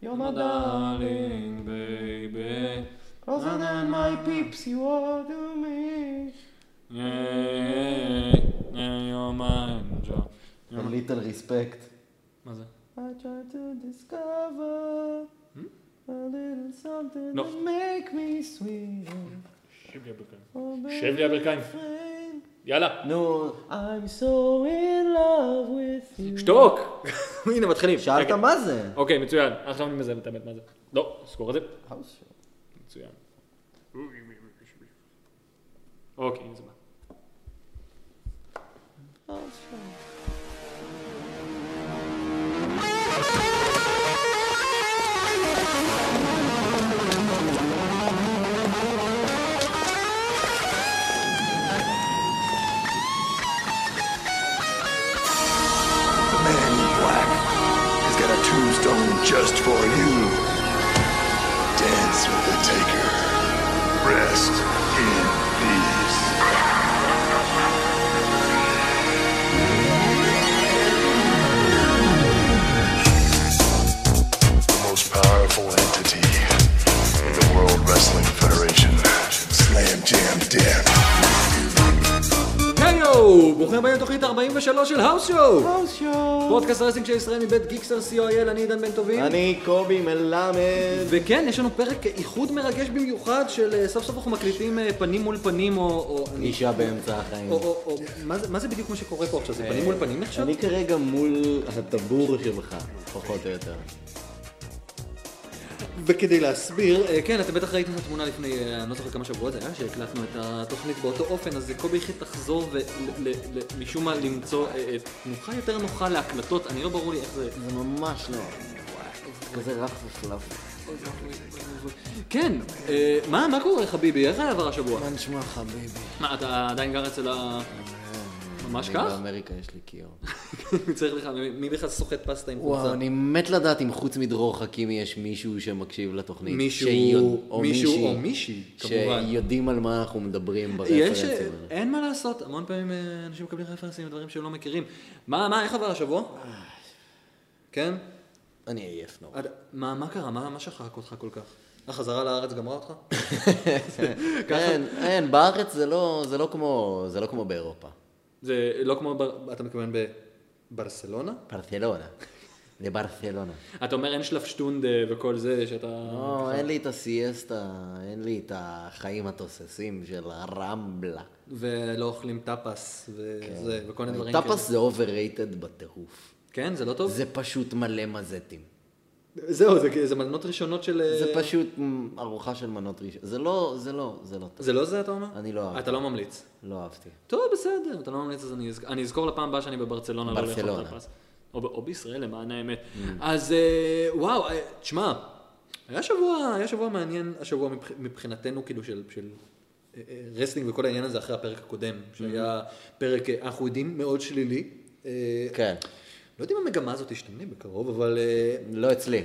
You're my darling baby. Closer than my peeps, you are to me. Yeah, yeah, you're my angel. A little respect. מה זה? I try to discover Hmm? a little something No. to make me sweet. שב לי הברכיים. Oh, שב לי הברכיים. baby, יאללה. נו, I'm so in love with you. שתוק! הנה מתחילים. שאלת רגע. מה זה? אוקיי, מצוין. עכשיו אני מזהה את האמת מה זה. לא, סגור את זה. מצוין. אוקיי, הנה זה בא. The man in black has got a tombstone just for you. Dance with the taker. Rest in peace. The most powerful entity in the World Wrestling Federation. Slam Jam Death. היי ברוכים הבאים לתוכנית 43 של האוס שואו! House show. פודקאסט הרסינג של ישראל מבית גיקסטר co.il, אני עידן בן טובים. אני קובי מלמד. וכן, יש לנו פרק איחוד מרגש במיוחד של אה, סוף סוף אנחנו מקליטים אה, פנים מול פנים, או... או אני- אישה באמצע החיים. או- או- או- מה זה- מה זה בדיוק מה שקורה פה עכשיו? זה פנים מול פנים עכשיו? אני כרגע מול הטבור שלך, פחות או יותר. וכדי להסביר, אה, כן, אתם בטח ראיתם את התמונה לפני, אה, אני לא זוכר כמה שבועות זה היה, שהקלטנו את התוכנית באותו אופן, אז קובי החליט לחזור ומשום מה למצוא אה, אה, תנוחה יותר נוחה להקלטות, אני לא ברור לי איך זה... זה ממש לא. כזה רך ופלאפ. כן, אה, מה מה קורה חביבי? איך היה עבר השבוע? מה נשמע חביבי? מה, אתה עדיין גר אצל ה... ממש אני כך? כאילו, באמריקה יש לי קיור. צריך לך, מי מי בכלל סוחט פסטה עם חולצה? וואו, אני מת לדעת אם חוץ מדרור חכימי יש מישהו שמקשיב לתוכנית. מישהו- שיוד- מישהו מישהי או מישהי, כמובן. שיודעים על מה אנחנו מדברים יש, אה, ברפרנסים האלה. אין מה לעשות, המון פעמים אה, אנשים מקבלים רפרנסים לדברים שהם לא מכירים. מה, מה, איך עבר השבוע? כן? אני עייף נורא. עד- מה, מה קרה? מה, מה שחק אותך כל כך? החזרה לארץ גמרה אותך? כן. ככה? אין, אין, בארץ זה לא, זה לא כמו, זה לא כמו באירופה. זה לא כמו, בר- אתה מתכוון בברסלונה? ברצלונה. לברצלונה. אתה אומר אין שלפשטונד אה, וכל זה, שאתה... לא, אין לי את הסיאסטה, אין לי את החיים התוססים של הרמבלה. ולא אוכלים טאפס וזה, וכל מיני דברים כן. טאפס זה overrated בטירוף. כן, זה לא טוב? זה פשוט מלא מזטים. זהו, זה- זה מנות ראשונות של... אה, זה פשוט מ, ארוחה של מנות ראשון. זה לא, זה לא, זה לא טוב. זה לא זה, אתה אומר? אני לא אהבתי. אתה לא ממליץ. לא אהבתי. טוב, בסדר, אתה לא ממליץ, אז אני, אזכ... אני אזכור לפעם הבאה שאני בברצלונה, לא ברצלונה. Mm. לאכול טאפס. או, ב- או בישראל, למען האמת. אז אה, וואו, אה, תשמע, היה שבוע, היה שבוע מעניין, השבוע מבח... מבחינתנו, כאילו, של... של... אה, אה, רסלינג וכל העניין הזה אחרי הפרק הקודם, שהיה פרק, אה, אנחנו יודעים, מאוד שלילי. אה, Mm-hmm. כן. לא יודע אם המגמה הזאת תשתנה בקרוב, אבל... אה, לא אצלי.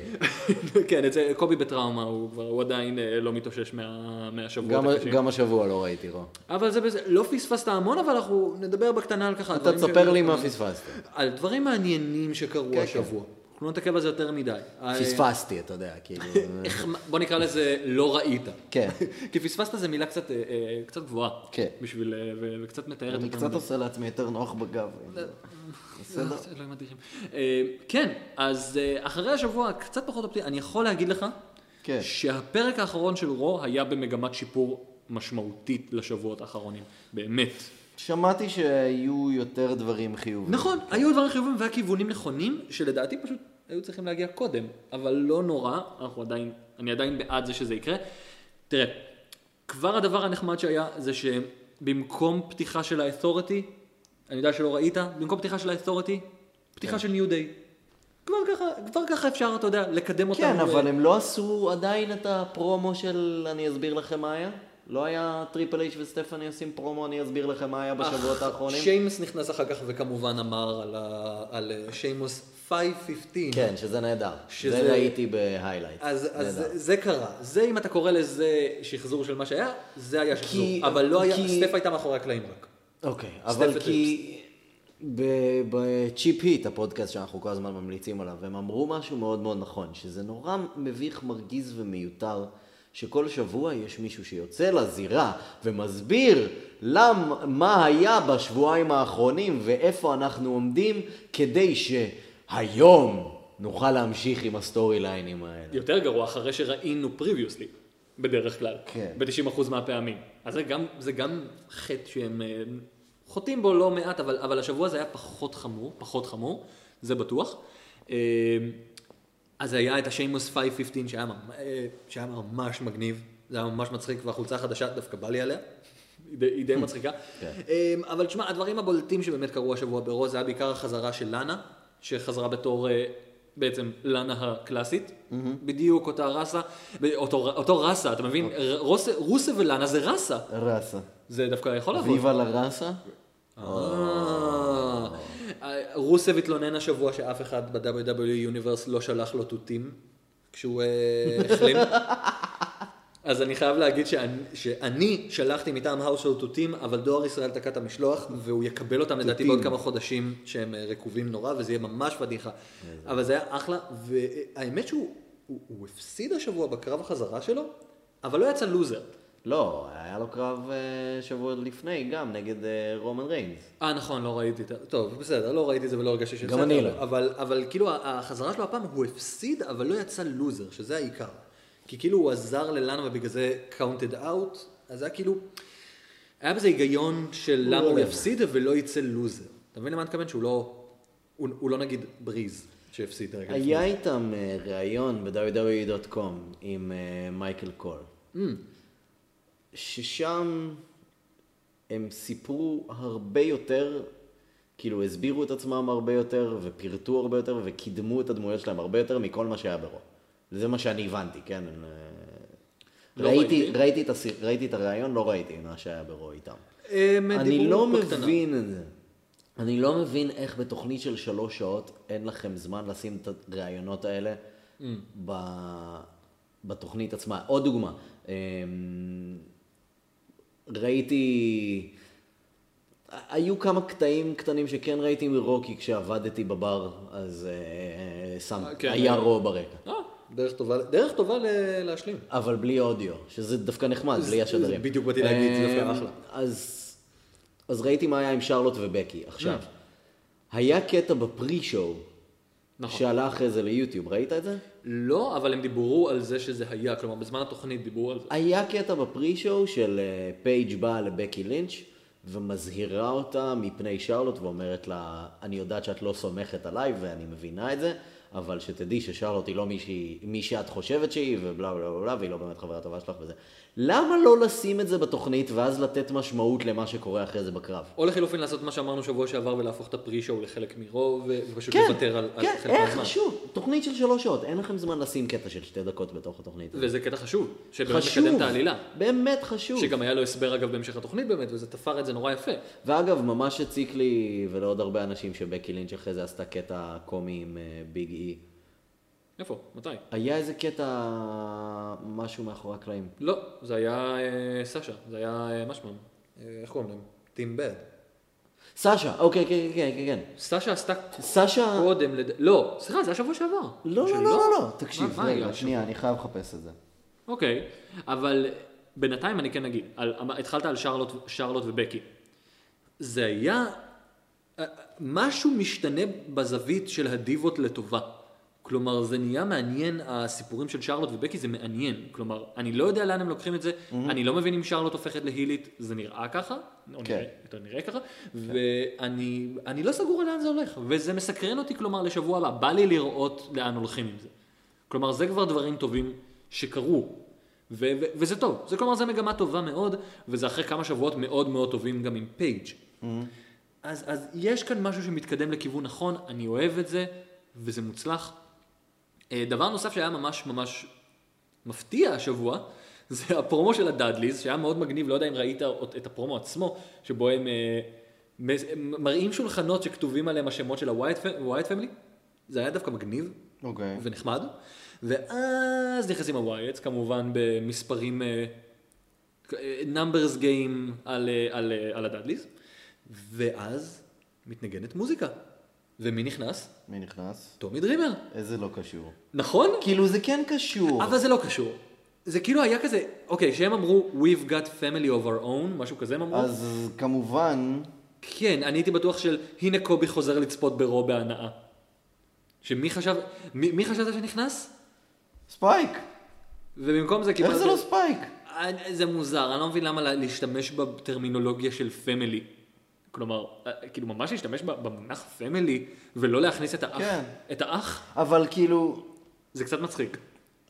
כן, אצל קובי בטראומה, הוא כבר, הוא עדיין אה, לא מתאושש מה, מהשבועות גם, הקשים. גם השבוע לא ראיתי רוע. אבל זה בסדר, לא פספסת המון, אבל אנחנו נדבר בקטנה על ככה. אתה דברים תספר ש- לי מה פספסת. על דברים מעניינים שקרו כן. השבוע. אנחנו לא נתעכב על זה יותר מדי. אה, פספסתי, אתה יודע, כאילו. איך- בוא נקרא לזה לא ראית. כן. כי פספסת זה מילה קצת, אה, אה, קצת גבוהה. כן. בשביל, אה, ו- וקצת מתארת אני אותנו. קצת לא- עושה לעצמי יותר נוח בגב. לא. בסדר. אה, אלוהים אדירים. אה, כן, אז אה, אחרי השבוע הקצת פחות אופטימי, אני יכול להגיד לך, כן. שהפרק האחרון של רו היה במגמת שיפור משמעותית לשבועות האחרונים. באמת. שמעתי שהיו יותר דברים חיוביים. נכון, היו דברים חיובים והכיוונים נכונים, שלדעתי פשוט היו צריכים להגיע קודם, אבל לא נורא, אנחנו עדיין, אני עדיין בעד זה שזה יקרה. תראה, כבר הדבר הנחמד שהיה זה שבמקום פתיחה של ה-authority, אני יודע שלא ראית, במקום פתיחה של ה-authority, כן. פתיחה של ניו דיי. כבר ככה, כבר ככה אפשר, אתה יודע, לקדם אה, אותם. כן, ו- אבל הם לא עשו עדיין את הפרומו של אני אסביר לכם מה היה? לא היה טריפל אייץ' וסטפני עושים פרומו אני אסביר לכם מה היה בשבועות האחרונים? שיימוס נכנס אחר כך וכמובן אמר על, ה... על אה, שיימוס 515. כן, שזה נהדר. שזה- זה ראיתי בהיילייט. אז, אז זה, זה קרה, זה אם אתה קורא לזה שחזור של מה שהיה, זה היה שחזור, כי- אבל לא היה, כי- סטף הייתה מאחורי הקלעים רק. אוקיי, אבל סטף כי... ב- בצ'יפ היט, הפודקאסט שאנחנו כל הזמן ממליצים עליו, הם אמרו משהו מאוד מאוד נכון, שזה נורא מביך, מרגיז ומיותר, שכל שבוע יש מישהו שיוצא לזירה ומסביר למ, מה היה בשבועיים האחרונים ואיפה אנחנו עומדים, כדי שהיום נוכל להמשיך עם הסטורי ליינים האלה. יותר גרוע אחרי שראינו פריביוסלי, בדרך כלל. כן. ב-90% מהפעמים. אז זה גם, זה גם חטא שהם אה, חוטאים בו לא מעט, אבל, אבל השבוע זה היה פחות חמור, פחות חמור, זה בטוח. אה, אז היה את השיימוס 515 שהיה, ממ- אה, שהיה ממש מגניב, זה היה ממש מצחיק, והחולצה החדשה דווקא בא לי עליה. היא די- היא די מצחיקה. אה, אבל תשמע, הדברים הבולטים שבאמת קרו השבוע ברוז, זה היה בעיקר החזרה של לאנה, שחזרה בתור אה, בעצם לאנה הקלאסית, בדיוק אותה ראסה, ב- אותו- אותו ראסה, אתה מבין? ר- רוס- רוסה ולאנה זה ראסה, ראסה. זה דווקא יכול נכון. לעבוד. ויבה לראסה? אה. רוסב התלונן השבוע שאף אחד ב-WWE יוניברס לא שלח לו תותים כשהוא אה, החלים. אז אני חייב להגיד שאני, שאני שלחתי מטעם האוס של תותים, אבל דואר ישראל תקע את המשלוח, והוא יקבל אותם לדעתי בעוד כמה חודשים שהם אה, רקובים נורא, וזה יהיה ממש פדיחה. אבל זה היה אחלה, והאמת שהוא הוא, הוא הפסיד השבוע בקרב החזרה שלו, אבל לא יצא לוזר. לא, היה לו קרב אה, שבוע לפני גם נגד אה, רומן ריינס. אה, נכון, לא ראיתי את ה... טוב, בסדר, לא ראיתי את זה ולא הרגשתי שזה... גם אני לא. אבל, אבל כאילו, החזרה שלו הפעם, הוא הפסיד, אבל לא יצא לוזר, שזה העיקר. כי כאילו הוא עזר ללאנה ובגלל זה קאונטד אאוט, אז היה כאילו... היה בזה היגיון של למה לא הוא יפסיד ולא יצא לוזר. אתה מבין למה אני מתכוון? שהוא לא... הוא, הוא לא נגיד בריז שהפסיד כן, רגע לפני. היה איתם אה, ראיון ב-www.com E עם אה, מייקל קול, ששם הם סיפרו הרבה יותר, כאילו הסבירו את עצמם הרבה יותר, ופירטו הרבה יותר, וקידמו את הדמויות שלהם הרבה יותר מכל מה שהיה ברור. זה מה שאני הבנתי, כן? אה, לא ראיתי, ראיתי. ראיתי, את הסי- ראיתי את הראיון, לא ראיתי מה שהיה ברור איתם. אה, הם אני דיברו לא בקטנה. מבין את זה. אני לא מבין איך בתוכנית של שלוש שעות אין לכם זמן לשים את הראיונות האלה Mm. ב... בתוכנית עצמה. עוד דוגמה, אמ, ראיתי, היו כמה קטעים קטנים שכן ראיתי מרוקי כשעבדתי בבר, אז אה, שם, אה, כן, היה אה. רו ברקע. אה, דרך טובה, דרך טובה ל- להשלים. אבל בלי אודיו, שזה דווקא נחמד, בלי זה השדרים. בדיוק באתי להגיד, זה דווקא אמ, אחלה. אז, אז ראיתי מה היה עם שרלוט ובקי עכשיו. כן. היה קטע בפרי-שואו, נכון. שעלה אחרי זה ליוטיוב, ראית את זה? לא, אבל הם דיברו על זה שזה היה, כלומר, בזמן התוכנית דיברו על זה. היה קטע בפרי-שואו של אה, פייג' באה לבקי לינץ' ומזהירה אותה מפני שרלוט ואומרת לה, אני יודעת שאת לא סומכת עליי ואני מבינה את זה, אבל שתדעי ששרלוט היא לא מישהי, מי שאת חושבת שהיא ובלה בלה בלה בלה והיא לא באמת חברה טובה שלך וזה. למה לא לשים את זה בתוכנית ואז לתת משמעות למה שקורה אחרי זה בקרב? או לחילופין לעשות מה שאמרנו שבוע שעבר ולהפוך את הפרי-שואו לחלק מרו ו- ופשוט כן, לוותר על, כן, על חלק איך, מהזמן. שוב, תוכנית של שלוש שעות, אין לכם זמן לשים קטע של שתי דקות בתוך התוכנית. הזאת. וזה קטע חשוב, שבאמת מקדם את העלילה. באמת חשוב. שגם היה לו הסבר אגב בהמשך התוכנית באמת, וזה תפר את זה נורא יפה. ואגב, ממש הציק לי ולעוד הרבה אנשים שבקי לינץ' אחרי זה עשתה קטע קומי עם אה, ביג אי. איפה? מתי? היה איזה קטע, משהו מאחורי הקלעים. לא, זה היה אה, סשה, זה היה אה, מה שמם? אה, איך קוראים להם? טים בד. סשה, אוקיי, כן, כן, כן, כן. סשה עשתה סשה... קודם לד... לא, סליחה, זה היה שבוע שעבר. לא, שלא? לא, לא, לא, לא, תקשיב, מה- מה רגע, היה שנייה, אני חייב לחפש את זה. אוקיי, אבל בינתיים אני כן אגיד, על, אמ- התחלת על שרלוט, שרלוט ובקי. זה היה, אה, משהו משתנה בזווית של הדיבות לטובה. כלומר, זה נהיה מעניין, הסיפורים של שרלוט ובקי זה מעניין. כלומר, אני לא יודע לאן הם לוקחים את זה, mm-hmm. אני לא מבין אם שרלוט הופכת להילית, זה נראה ככה, או כן. נראה, יותר נראה ככה, ואני אני לא סגור על לאן זה הולך, וזה מסקרן אותי, כלומר, לשבוע הבא, בא לי לראות לאן הולכים עם זה. כלומר, זה כבר דברים טובים שקרו, ו- ו- וזה טוב. זה כלומר, זו מגמה טובה מאוד, וזה אחרי כמה שבועות מאוד מאוד טובים גם עם פייג'. אז, אז יש כאן משהו שמתקדם לכיוון נכון, אני אוהב את זה, וזה מוצלח. אה, דבר נוסף שהיה ממש ממש מפתיע השבוע, זה הפרומו של הדאדליז, שהיה מאוד מגניב, לא יודע אם ראית את הפרומו עצמו, שבו הם אה, מס- הם מראים שולחנות שכתובים עליהם השמות של הווייט פמילי. זה היה דווקא מגניב אוקיי. ונחמד. ואז נכנסים הווייטס, כמובן במספרים, אה, אה, numbers game על, אה, על, אה, על הדאדליז. ואז מתנגנת מוזיקה. ומי נכנס? מי נכנס? טומי דרימר. איזה לא קשור. נכון? כאילו זה כן קשור. אבל זה לא קשור. זה כאילו היה כזה, אוקיי, שהם אמרו, We've got family of our own, משהו כזה הם אמרו. אז כמובן, כן, אני הייתי בטוח של, הנה קובי חוזר לצפות ברו בהנאה. שמי חשב, מי, מי חשבת שנכנס? ספייק. ובמקום זה איך קיבלתי... זה לא ספייק? אני- זה מוזר, אני לא מבין למה לה- להשתמש בטרמינולוגיה של פמילי. כלומר, אה, כאילו ממש להשתמש ב- במונח פמילי ולא להכניס את האח, כן. את האח, אבל כאילו, זה קצת מצחיק.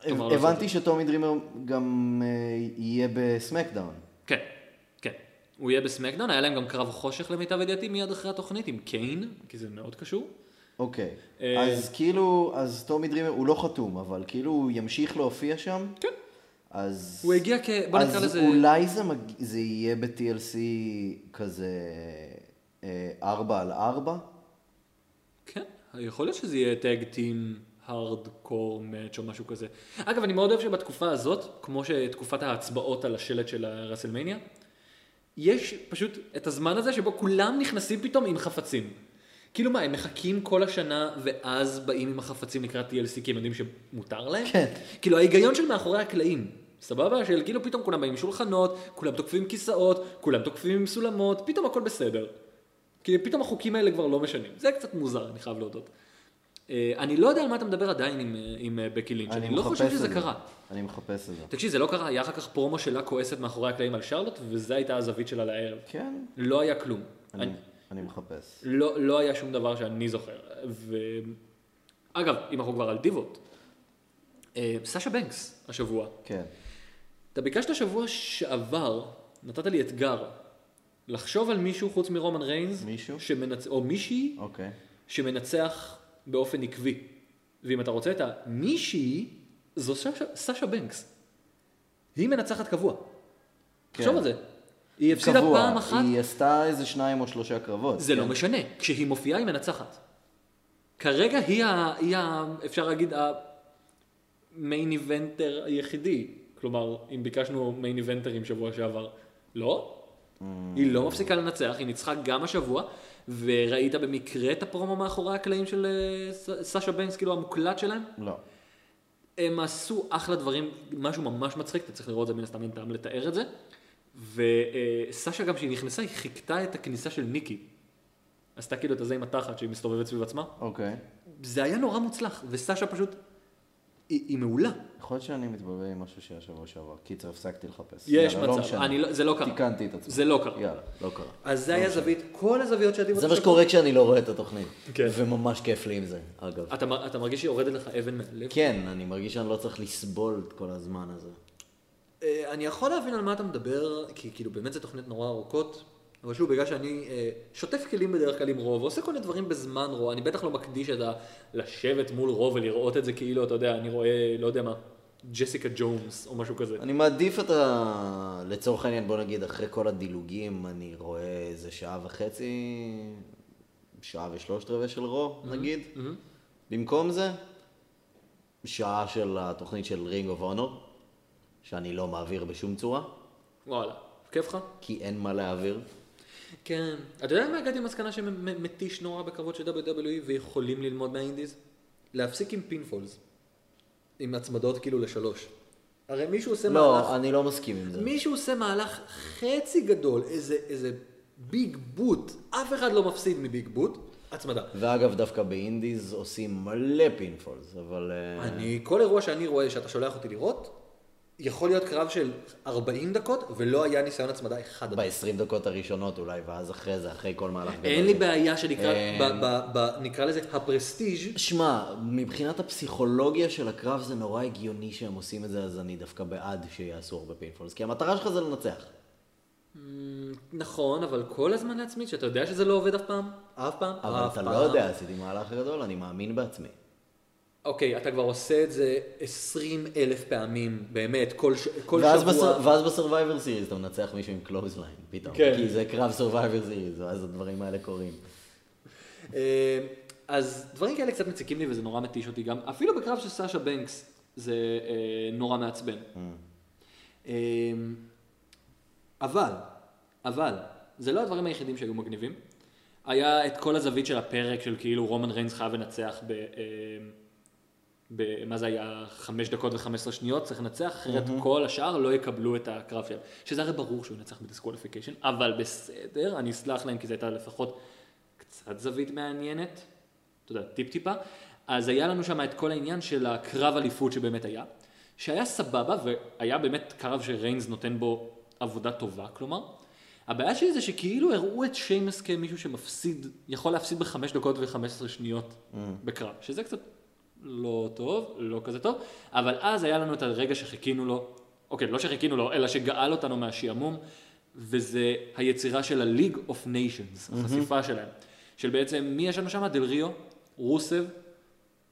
כלומר, לא הב- לעשות הבנתי שטומי דרימר גם אה, יהיה בסמקדאון. כן, כן. הוא יהיה בסמקדאון, היה להם גם קרב חושך למיטב ידיעתי מיד אחרי התוכנית עם קיין, כי זה מאוד קשור. אוקיי. אה. אז כאילו, אז טומי דרימר, הוא לא חתום, אבל כאילו הוא ימשיך להופיע שם. כן. אז... הוא הגיע כ... בוא נקרא לזה... אז אולי זה, מג... זה יהיה ב-TLC כזה אה, ארבע על ארבע? כן, יכול להיות שזה יהיה טאג טים הארדקור מאץ' או משהו כזה. אגב, אני מאוד אוהב שבתקופה הזאת, כמו שתקופת ההצבעות על השלט של הרסלמניה, יש פשוט את הזמן הזה שבו כולם נכנסים פתאום עם חפצים. כאילו מה, הם מחכים כל השנה ואז באים עם החפצים לקראת TLC כי הם יודעים שמותר להם? כן. כאילו ההיגיון של מאחורי הקלעים, סבבה? של כאילו פתאום כולם באים עם שולחנות, כולם תוקפים כיסאות, כולם תוקפים עם סולמות, פתאום הכל בסדר. כי פתאום החוקים האלה כבר לא משנים. זה קצת מוזר, אני חייב להודות. אה, אני לא יודע על מה אתה מדבר עדיין עם, אה, עם אה, בקי לינץ', אני לא מחפש חושב את שזה זה. קרה. אני מחפש את זה. תקשיב, זה לא קרה, היה אחר כך פרומו שלה כועסת מאחורי הקלעים על שרלוט, וזו הייתה הזווית שלה לערב. כן, לא היה כלום. אני... אני, אני מחפש. לא, לא היה שום דבר שאני זוכר. ו... אגב, אם אנחנו כבר על דיבות, אה, סאשה בנקס השבוע, כן. אתה ביקשת שבוע שעבר, נתת לי אתגר, לחשוב על מישהו חוץ מרומן ריינס, מישהו? שמנצ... או מישהי אוקיי. שמנצח באופן עקבי. ואם אתה רוצה את המישהי, זו סשה, סשה בנקס. היא מנצחת קבוע. כן. תחשוב על זה. היא הפסידה קבוע, פעם אחת, היא עשתה איזה שניים או שלושה קרבות. זה כן. לא משנה. כשהיא מופיעה היא מנצחת. כרגע היא, ה, היא ה, אפשר להגיד, המיין איבנטר היחידי. כלומר, אם ביקשנו מיין איבנטרים שבוע שעבר, לא? היא לא מפסיקה לנצח, היא ניצחה גם השבוע, וראית במקרה את הפרומו מאחורי הקלעים של אה, ס- סאשה בנקס, כאילו המוקלט שלהם? לא. הם עשו אחלה דברים, משהו ממש מצחיק, אתה צריך לראות את זה מן הסתם, אין טעם לתאר את זה. וסשה גם כשהיא נכנסה, היא חיכתה את הכניסה של ניקי. עשתה כאילו את הזה עם התחת שהיא מסתובבת סביב עצמה. אוקיי. זה היה נורא מוצלח, וסשה פשוט, היא, היא מעולה. יכול להיות שאני מתבלבל עם משהו שהיה שבוע שעבר. קיצר, הפסקתי לחפש. יש יאללה, לא מצב, משנה. אני לא, זה לא קרה. תיקנתי את עצמי. זה לא קרה. יאללה, לא קרה. אז זה היה זווית, כל הזוויות שאתם... זה מה שקורה כשאני לא רואה את התוכנית. כן. וממש כיף לי עם זה, אגב. אתה, מ- אתה מרגיש שיורדת לך אבן מהלב? כן, אני מרגיש שאני לא צריך לסבול את כל הזמן הזה. אה, אני יכול להבין על מה אתה מדבר, כי כאילו באמת זו תוכנית נורא ארוכות, אבל שוב, בגלל שאני אה, שוטף כלים בדרך כלל עם רוב, ועושה כל מיני דברים בזמן רוע, אני בטח לא מקדיש את ה... לשבת מול רוב ולראות את זה כאילו, אתה יודע, אני רואה, לא יודע מה, ג'סיקה ג'ונס או משהו כזה. אני מעדיף את ה... לצורך העניין, בוא נגיד, אחרי כל הדילוגים, אני רואה איזה שעה וחצי, שעה ושלושת רבעי של רו, Mm-hmm. נגיד. במקום זה, שעה של התוכנית של רינג אוף אונור, שאני לא מעביר בשום צורה, וואלה, כיף לך? כי אין מה להעביר. כן. אתה יודע מה הגעתי למסקנה שמתיש נורא בקרבות של WWE ויכולים ללמוד מהאינדיז? להפסיק עם פינפולס. עם הצמדות כאילו לשלוש. הרי מישהו עושה מהלך... לא, אני לא מסכים עם זה. מישהו עושה מהלך חצי גדול, איזה, איזה ביג בוט, אף אחד לא מפסיד מביג בוט, הצמדה. ואגב, דווקא באינדיז עושים מלא פינפולס, אבל... אה, אני, כל אירוע שאני רואה שאתה שולח אותי לראות, יכול להיות קרב של 40 דקות, ולא היה ניסיון הצמדה אחד. ב-20 דקות הראשונות אולי, ואז אחרי זה, אחרי כל מהלך גדול. אין לי בעיה שנקרא, אין. ב- ב- ב- נקרא לזה הפרסטיג', שמע, מבחינת הפסיכולוגיה של הקרב זה נורא הגיוני שהם עושים את זה, אז אני דווקא בעד שיעשו הרבה פינפולס, כי המטרה שלך זה לנצח. נכון, אבל כל הזמן להצמיד, שאתה יודע שזה לא עובד אף פעם, אף פעם, אף פעם. אבל אתה לא יודע, עשיתי מהלך גדול, אני מאמין בעצמי. אוקיי, אתה כבר עושה את זה 20 אלף פעמים, באמת, כל ש- כל ואז שבוע. בס- ואז בסרווייבר סיריס אתה מנצח מישהו עם קלוזליין, פתאום. כן. כי זה קרב סרווייבר סיריס, ואז הדברים האלה קורים. אה, אז דברים כאלה קצת מציקים לי וזה נורא מתיש אותי גם, אפילו בקרב של סאשה בנקס זה אה, נורא מעצבן. אה, אבל, אבל, זה לא הדברים היחידים שהיו מגניבים. היה את כל הזווית של הפרק של כאילו רומן ריינס חייב לנצח ב... אה, ב- מה זה היה? חמש דקות וחמש עשרה שניות, צריך לנצח, אחרת כל השאר לא יקבלו את הקרב שלהם. שזה הרי ברור שהוא ינצח בדיסקווליפיקיישן, אבל בסדר, אני אסלח להם כי זו הייתה לפחות קצת זווית מעניינת, אתה יודע, טיפ-טיפה. אז היה לנו שם את כל העניין של הקרב אליפות שבאמת היה, שהיה סבבה, והיה באמת קרב שריינס נותן בו עבודה טובה, כלומר. הבעיה שלי זה שכאילו הראו את שיימס כמישהו שמפסיד, יכול להפסיד בחמש דקות וחמש עשרה שניות בקרב, שזה קצת לא טוב, לא כזה טוב, אבל אז היה לנו את הרגע שחיכינו לו, אוקיי, לא שחיכינו לו, אלא שגאל אותנו מהשעמום, וזה היצירה של ה-League of Nations, החשיפה שלהם, של בעצם מי יש לנו שם? דל ריו, רוסב,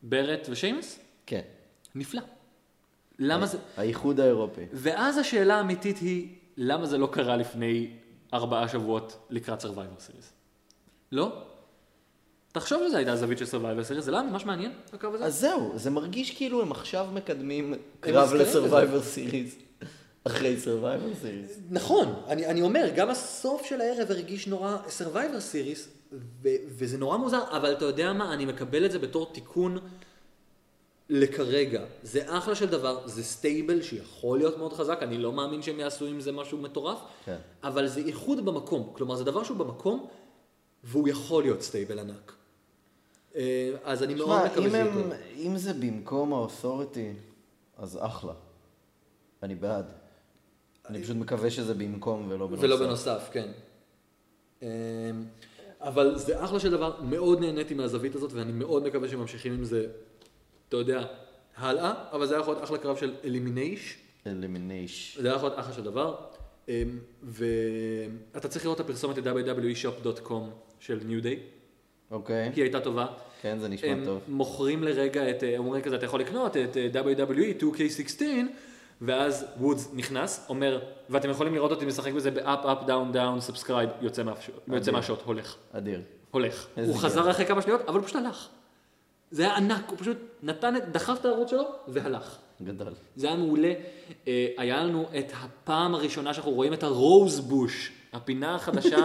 ברט ושיימס? כן. נפלא. למה זה... האיחוד האירופי. ואז השאלה האמיתית היא, למה זה לא קרה לפני ארבעה שבועות לקראת Survivor Series? לא? תחשוב שזו הייתה הזווית של Survivor Series, זה לא היה ממש מעניין, הקרב הזה? אז זהו, זה מרגיש כאילו הם עכשיו מקדמים קרב מזכירים את זה. לסרווייבר סיריס. אחרי סרווייבר סיריס. נכון, אני, אני אומר, גם הסוף של הערב הרגיש נורא Survivor Series, ו, וזה נורא מוזר, אבל אתה יודע מה, אני מקבל את זה בתור תיקון לכרגע. זה אחלה של דבר, זה סטייבל שיכול להיות מאוד חזק, אני לא מאמין שהם יעשו עם זה משהו מטורף, כן. אבל זה איחוד במקום, כלומר זה דבר שהוא במקום, והוא יכול להיות סטייבל ענק. אה, אז אני מאוד תשמע, מקווה אם, שזה הם, יותר. אם זה במקום האותוריטי, אז אחלה. אני בעד. אני פשוט מקווה שזה במקום ולא בנוסף. ולא בנוסף, כן. אמ, אבל זה אחלה של דבר, מאוד נהניתי מהזווית הזאת, ואני מאוד מקווה שממשיכים עם זה, אתה יודע, הלאה, אבל זה היה יכול להיות אחלה קרב של אלימינייש, אלמינייש. זה היה יכול להיות אחלה של דבר, אמ, ואתה צריך לראות את הפרסומת E ל-www.shop.com של ניו דיי, אוקיי. כי היא הייתה טובה. כן, זה נשמע הם טוב. מוכרים לרגע את, אה, אומרים כזה, אתה יכול לקנות את אה, WWE 2K16, ואז וודס נכנס, אומר, ואתם יכולים לראות אותי משחק בזה באפ, אפ, דאון, דאון, סאבסקרייב, יוצא מהפש- יוצא מהשוט, הולך, אדיר. הולך. איזה הוא חזר אחרי כמה שניות, אבל הוא פשוט הלך. זה היה ענק, הוא פשוט נתן, את- דחף את הערוץ שלו, והלך. גדול. זה היה מעולה. אה, היה לנו את הפעם הראשונה שאנחנו רואים את הרוז בוש, הפינה החדשה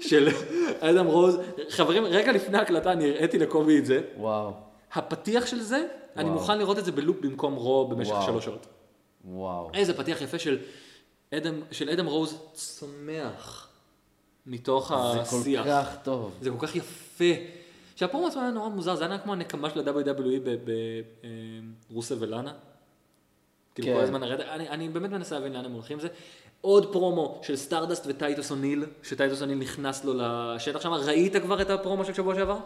של אדם רוז. חברים, רגע לפני ההקלטה אני הראיתי לקובי את זה. וואו. הפתיח של זה, אני וואו. מוכן לראות את זה בלופ במקום רו במשך וואו. שלוש שעות. וואו. איזה פתיח יפה של אדם, של אדם רוז צומח מתוך זה השיח. כל כך טוב. זה כל כך יפה. שהפרומו עצמו היה נורא מוזר, זה היה כמו הנקמה של E ה-WWE ברוסיה אה, ולאנה. כאילו כן. כל הזמן הרדת, אני, אני באמת מנסה להבין לאן הם הולכים עם זה. עוד פרומו של סטארדסט וטייטוס אוניל, שטייטוס אוניל נכנס לו לשטח שם, ראית כבר את הפרומו של שבוע שעבר?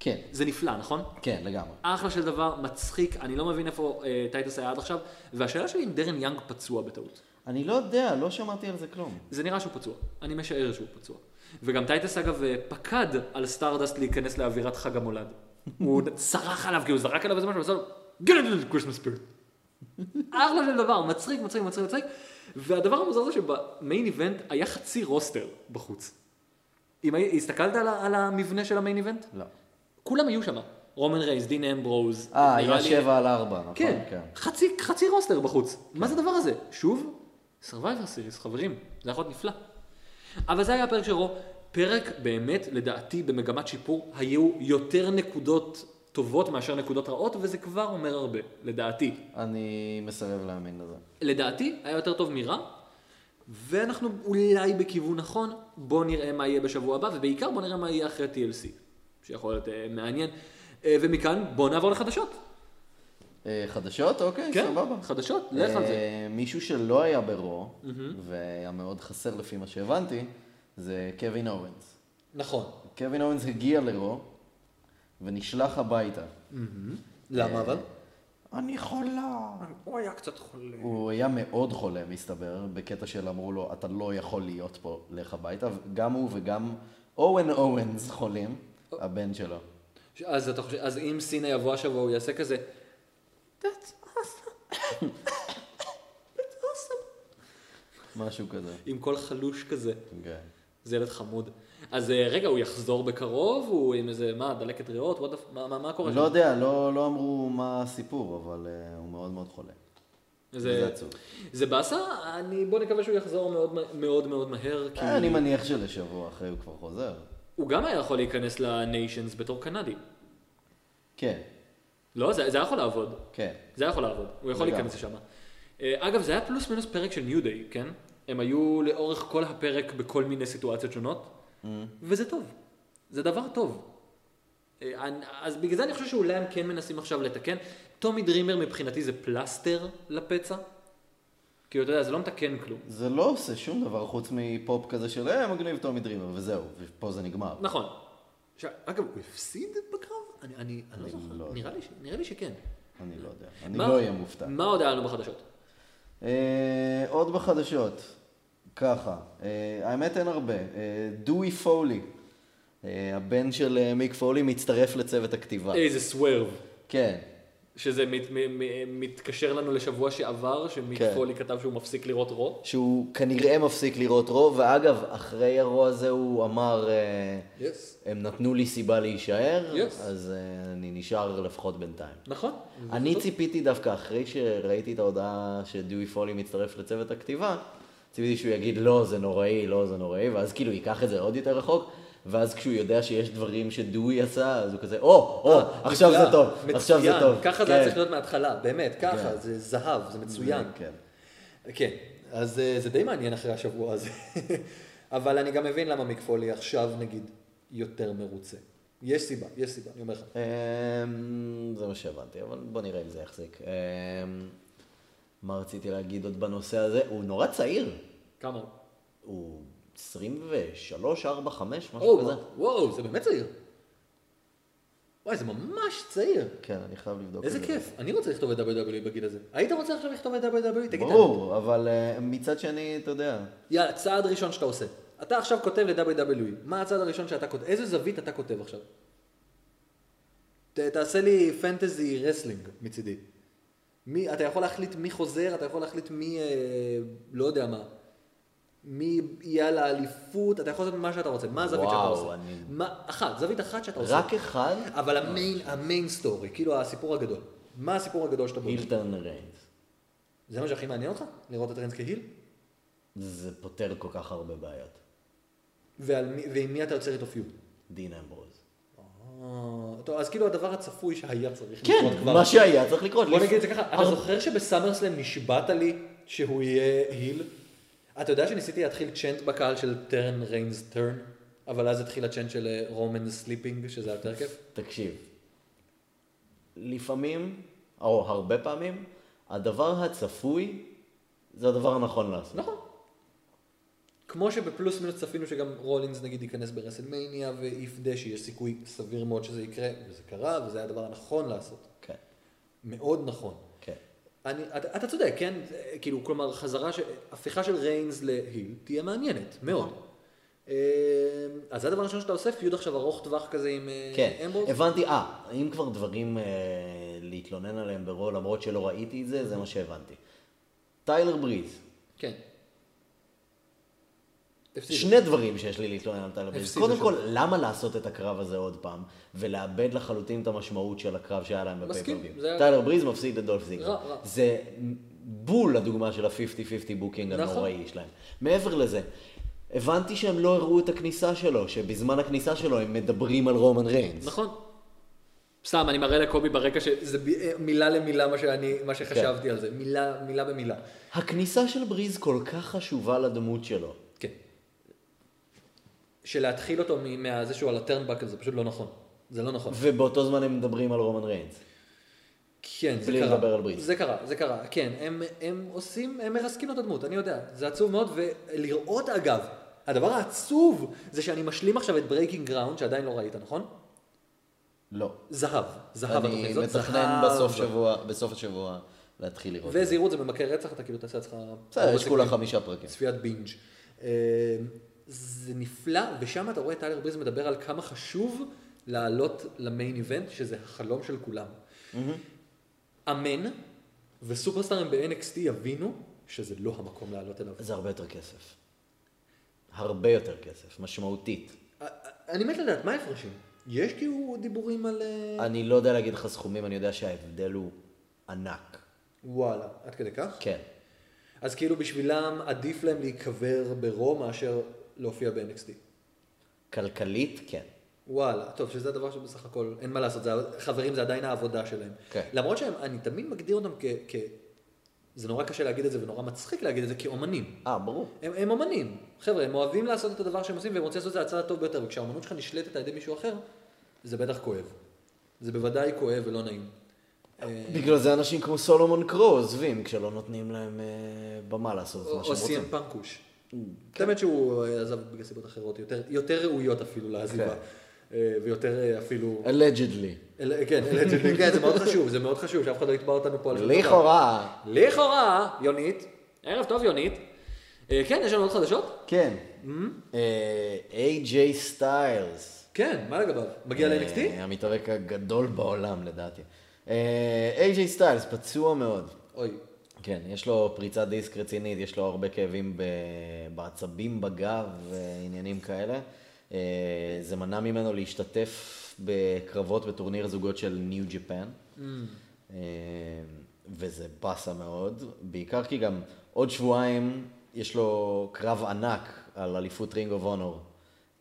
כן. זה נפלא, נכון? כן, לגמרי. אחלה של דבר, מצחיק, אני לא מבין איפה אה, טייטוס היה עד עכשיו, והשאלה שלי אם דרן יאנג פצוע בטעות. אני לא יודע, לא שמעתי על זה כלום. זה נראה שהוא פצוע, אני משער שהוא פצוע. וגם טייטס אגב אה, פקד על סטארדסט להיכנס לאווירת חג המולד. הוא צרח עליו, כאילו זרק עליו איזה משהו, ועשה לו, get it, Christmas spirit. אחלה של דבר, מצחיק, מצחיק, מצחיק, מצחיק. והדבר המוזר זה שבמיין איבנט היה חצי רוסטר בחוץ. אם הי- הסתכלת על, ה- על המבנה של המיין איבנט? לא. כולם היו שם. רומן רייס, דין אמברוז. אה, נראה היה לי- שבע על ארבע, נכון? כן, חצי, חצי רוסטר בחוץ. מה זה הדבר הזה? שוב, Survivor Series, חברים, זה יכול להיות נפלא. אבל זה היה הפרק שלו, פרק באמת, לדעתי, במגמת שיפור, היו יותר נקודות טובות מאשר נקודות רעות, וזה כבר אומר הרבה, לדעתי. אני מסרב להאמין לזה. לדעתי, היה יותר טוב מרע, ואנחנו אולי בכיוון נכון, בואו נראה מה יהיה בשבוע הבא, ובעיקר בואו נראה מה יהיה אחרי TLC, שיכול להיות אה, מעניין. אה, ומכאן, בואו נעבור לחדשות. אה, חדשות? אוקיי, כן, כן, סבבה. חדשות, לך על זה. אה, מישהו שלא היה ברו, והיה מאוד חסר לפי מה שהבנתי, זה קווין אורנס. נכון. קווין אורנס הגיע לרו, ונשלח הביתה. למה אבל? אני חולה. אה, הוא היה קצת חולה. הוא היה מאוד חולה, מסתבר, בקטע של אמרו לו, אתה לא יכול להיות פה, לך הביתה. גם הוא וגם אוהן אוהנס חולים, הבן שלו. אז אתה חושב, אז אם סינה יבוא השבוע, הוא יעשה כזה, משהו כזה. עם קול חלוש כזה. כן. זה ילד חמוד. אז אה, רגע, הוא יחזור בקרוב? הוא עם איזה, מה, דלקת ריאות? What the- מה- מה מה קורה? לא שם? יודע, לא לא אמרו מה הסיפור, אבל אה, הוא מאוד מאוד חולה. זה עצוב. זה באסה? אני, בוא נקווה שהוא יחזור מאוד מה- מאוד מאוד מהר, כי... אה, אני מניח שלשבוע אחרי הוא כבר חוזר. הוא גם היה יכול להיכנס לניישנס בתור קנדי. כן, לא, זה, זה היה יכול לעבוד. כן. זה היה יכול לעבוד, הוא יכול לגמרי. להיכנס לשם. אה, אגב, זה היה פלוס מינוס פרק של ניו דיי, כן? הם היו לאורך כל הפרק בכל מיני סיטואציות שונות, Mm. וזה טוב. זה דבר טוב. אה, אני- אז בגלל זה אני חושב שאולי הם כן מנסים עכשיו לתקן. טומי דרימר מבחינתי זה פלסטר לפצע. כאילו, אתה יודע, זה לא מתקן כלום. זה לא עושה שום דבר חוץ מפופ כזה של אה, מגניב טומי דרימר, וזהו, ופה זה נגמר. נכון. ש- אגב, הוא הפסיד בקרב? אני, אני, אני לא לא זוכר. יודע. נראה לי, ש- נראה לי שכן. אני לא יודע, אני מה- לא אהיה מופתע. מה עוד היה לנו בחדשות? אה, עוד בחדשות, ככה, אה, האמת אין הרבה, אה, דואי פולי, אה, הבן של אה, מיק פולי מצטרף לצוות הכתיבה. איזה סוורב. כן, שזה מת, מ, מ, מתקשר לנו לשבוע שעבר, שמיק כן. כן. פולי כתב שהוא מפסיק לראות רו. שהוא כנראה מפסיק לראות רוב, ואגב, אחרי הרוע הזה הוא אמר, אה, Yes. הם נתנו לי סיבה להישאר, Yes. אז אה, אני נשאר לפחות בינתיים. נכון. אני ציפיתי דווקא אחרי שראיתי את ההודעה שדואי פולי מצטרף לצוות הכתיבה, ציפיתי שהוא יגיד לא זה נוראי, לא זה נוראי, ואז כאילו ייקח את זה עוד יותר רחוק, ואז כשהוא יודע שיש דברים שדואי עשה, אז הוא כזה, או, או, עכשיו זה טוב, עכשיו זה טוב. אה, ככה זה היה כן. צריך להיות מההתחלה, באמת, כן. ככה, זה זהב, זה מצוין. כן. כן, אז אה, זה די מעניין אחרי השבוע הזה. אבל אני גם מבין למה מיקפולי עכשיו, נגיד, יותר מרוצה. יש סיבה, יש סיבה, אני אומר לך. אמ, זה מה שהבנתי, אבל בוא נראה אם זה יחזיק. אמ, מה רציתי להגיד עוד בנושא הזה? הוא נורא צעיר, כמה? הוא? הוא 23, 4, 5, משהו או, כזה. וואו, זה באמת צעיר. וואי, זה ממש צעיר. כן, אני חייב לבדוק. איזה את זה. כיף, אני רוצה לכתוב את WWE בגיל הזה. היית רוצה עכשיו לכתוב את WWE? תגיד את האמת. ברור, אבל אה, מצד שני, אתה יודע, יאללה, צעד ראשון שאתה עושה. אתה עכשיו כותב ל-WWE, מה הצעד הראשון שאתה כותב? איזה זווית אתה כותב עכשיו? ת, תעשה לי פנטזי רסלינג מצידי. מי, אתה יכול להחליט מי חוזר, אתה יכול להחליט מי, אה, לא יודע מה. מי יהיה על האליפות, אתה יכול לעשות מה שאתה רוצה. מה הזווית שאתה וואו, עושה? אני- מה, אחת, זווית אחת שאתה עושה. רק אחד, אה. אבל המיין, המיין סטורי, כאילו הסיפור הגדול. מה הסיפור הגדול שאתה בונה? הילטון ריינס. זה מה שהכי מעניין אותך? לראות את ריינס כהיל? זה פותר כל כך הרבה בעיות. ועל מי- ועם מי אתה יוצר איתו פיוד? דין אמברוז. אה, טוב, אז כאילו הדבר הצפוי שהיה צריך לקרות כן, כבר. מה שהיה צריך לקרות. בוא לפ- נגיד את זה ככה, אתה זוכר שבסאמרסלאם נשבעת לי שהוא יהיה היל? אתה יודע שניסיתי להתחיל צ'נט בקהל של טרן ריינס טרן, אבל אז התחיל הצ'נט של אה, רומן סליפינג, שזה יותר כיף. תקשיב, לפעמים, או הרבה פעמים, הדבר הצפוי זה הדבר הנכון לעשות. נכון. כמו שבפלוס מינוס צפינו שגם רולינס נגיד ייכנס ברסלמניה ויפדה שיש סיכוי סביר מאוד שזה יקרה, וזה קרה, וזה היה הדבר הנכון לעשות. כן, מאוד נכון. כן. אני, אתה, אתה צודק, כן? זה, כאילו, כלומר, חזרה, ש... הפיכה של ריינס להיל תהיה מעניינת, מאוד. נכון. אה, אז זה הדבר הראשון שאתה עושה, פיוד עכשיו ארוך טווח כזה עם אה, כן, אמברוז? הבנתי, אה, אם כבר דברים אה, להתלונן עליהם ברו, למרות שלא ראיתי את זה, זה מה שהבנתי. טיילר בריז, כן. הפסידו. שני דברים שיש לי להתלונן על טלר בריז. הפסידו קודם שם. כל, למה לעשות את הקרב הזה עוד פעם, ולאבד לחלוטין את המשמעות של הקרב שהיה להם מסכים, בפייפרוויו? זה היה- טיילר בריז מפסיד לדולף זיגלר. רע, רע. זה בול הדוגמה של ה-50-50 בוקינג נכון. הנוראי שלהם. מעבר לזה, הבנתי שהם לא הראו את הכניסה שלו, שבזמן הכניסה שלו הם מדברים על רומן ריינס. נכון. סתם, אני מראה לקובי ברקע ש... זה ב... אה, מילה למילה מה, שאני, מה כן. שחשבתי על זה, מילה, מילה במילה. הכניסה של בריז כל כך חשובה לדמות שלו. כן. שלהתחיל אותו מ- מזה שהוא על הטרנבקל זה פשוט לא נכון. זה לא נכון. ובאותו זמן הם מדברים על רומן ריינס. כן, זה בלי קרה. לדבר על בריז. זה קרה, זה קרה, כן. הם, הם עושים, הם מרסקים לו את הדמות, אני יודע. זה עצוב מאוד, ולראות אגב, הדבר העצוב זה שאני משלים עכשיו את ברייקינג גראונד, שעדיין לא ראית, נכון? לא. זהב, זהב אני התוכנית זאת, מתכנן בסוף שבוע, בסוף השבוע להתחיל לראות. וזהירות זה במכה רצח, אתה כאילו תעשה לעצמך... אוקיי. בסדר, יש כולה חמישה פרקים. צפיית בינג'. אה, זה נפלא, ושם אתה רואה את טיילר בריז מדבר על כמה חשוב לעלות למיין איבנט, שזה החלום של כולם. אמן, וסופרסטארים ב-NXT יבינו שזה לא המקום לעלות אליו. זה הרבה יותר כסף. הרבה יותר כסף, משמעותית. אה, אה, אני מת לדעת, מה ההפרשים? יש כאילו דיבורים על... אה, אני לא יודע להגיד לך סכומים, אני יודע שההבדל הוא ענק. וואלה, עד כדי כך? כן. אז כאילו בשבילם עדיף להם להיקבר ברו מאשר להופיע ב-NXT. כלכלית, כן. וואלה, טוב, שזה הדבר שבסך הכל, אין מה לעשות, זה, חברים זה עדיין העבודה שלהם. כן. למרות שאני תמיד מגדיר אותם כ, כ... זה נורא קשה להגיד את זה ונורא מצחיק להגיד את זה כאומנים. אה, ברור. הם, הם אומנים. חבר'ה, הם אוהבים לעשות את הדבר שהם עושים והם רוצים לעשות את זה הצד הטוב ביותר, וכשהאומנות שלך נשלטת על ידי מישהו אחר, זה בטח כואב. זה בוודאי כואב ולא נעים. אה, בגלל זה אנשים כמו סולומון קרו עוזבים כשלא נותנים להם אה, במה לעשות את מה או שהם רוצים. Mm, כן. סיים פנקוש. באמת שהוא אה, עזב בגלל סיבות אחרות, יותר- יותר ראויות אפילו כן. לעזיבה. אה, ויותר אה, אפילו... אלג'דלי. אל- כן, אלג'נדלי, כן, זה מאוד חשוב, זה מאוד חשוב, שאף אחד לא יתבע אותנו פה על שום דבר. לכאורה. לכאורה, יונית. ערב טוב, יונית. אה, כן, יש לנו עוד חדשות? כן. אה, איי-ג'יי סטיילס. כן, מה לגביו? מגיע ל-NXT? אה, המתאבק הגדול בעולם לדעתי. אה, איי-ג'יי סטיילס פצוע מאוד. אוי. כן, יש לו פריצת דיסק רצינית, יש לו הרבה כאבים ב... בעצבים בגב ועניינים כאלה. אה, זה מנע ממנו להשתתף בקרבות בטורניר זוגות של ניו ג'פן. Mm. אה, וזה באסה מאוד, בעיקר כי גם עוד שבועיים יש לו קרב ענק על אליפות רינג אוף אונור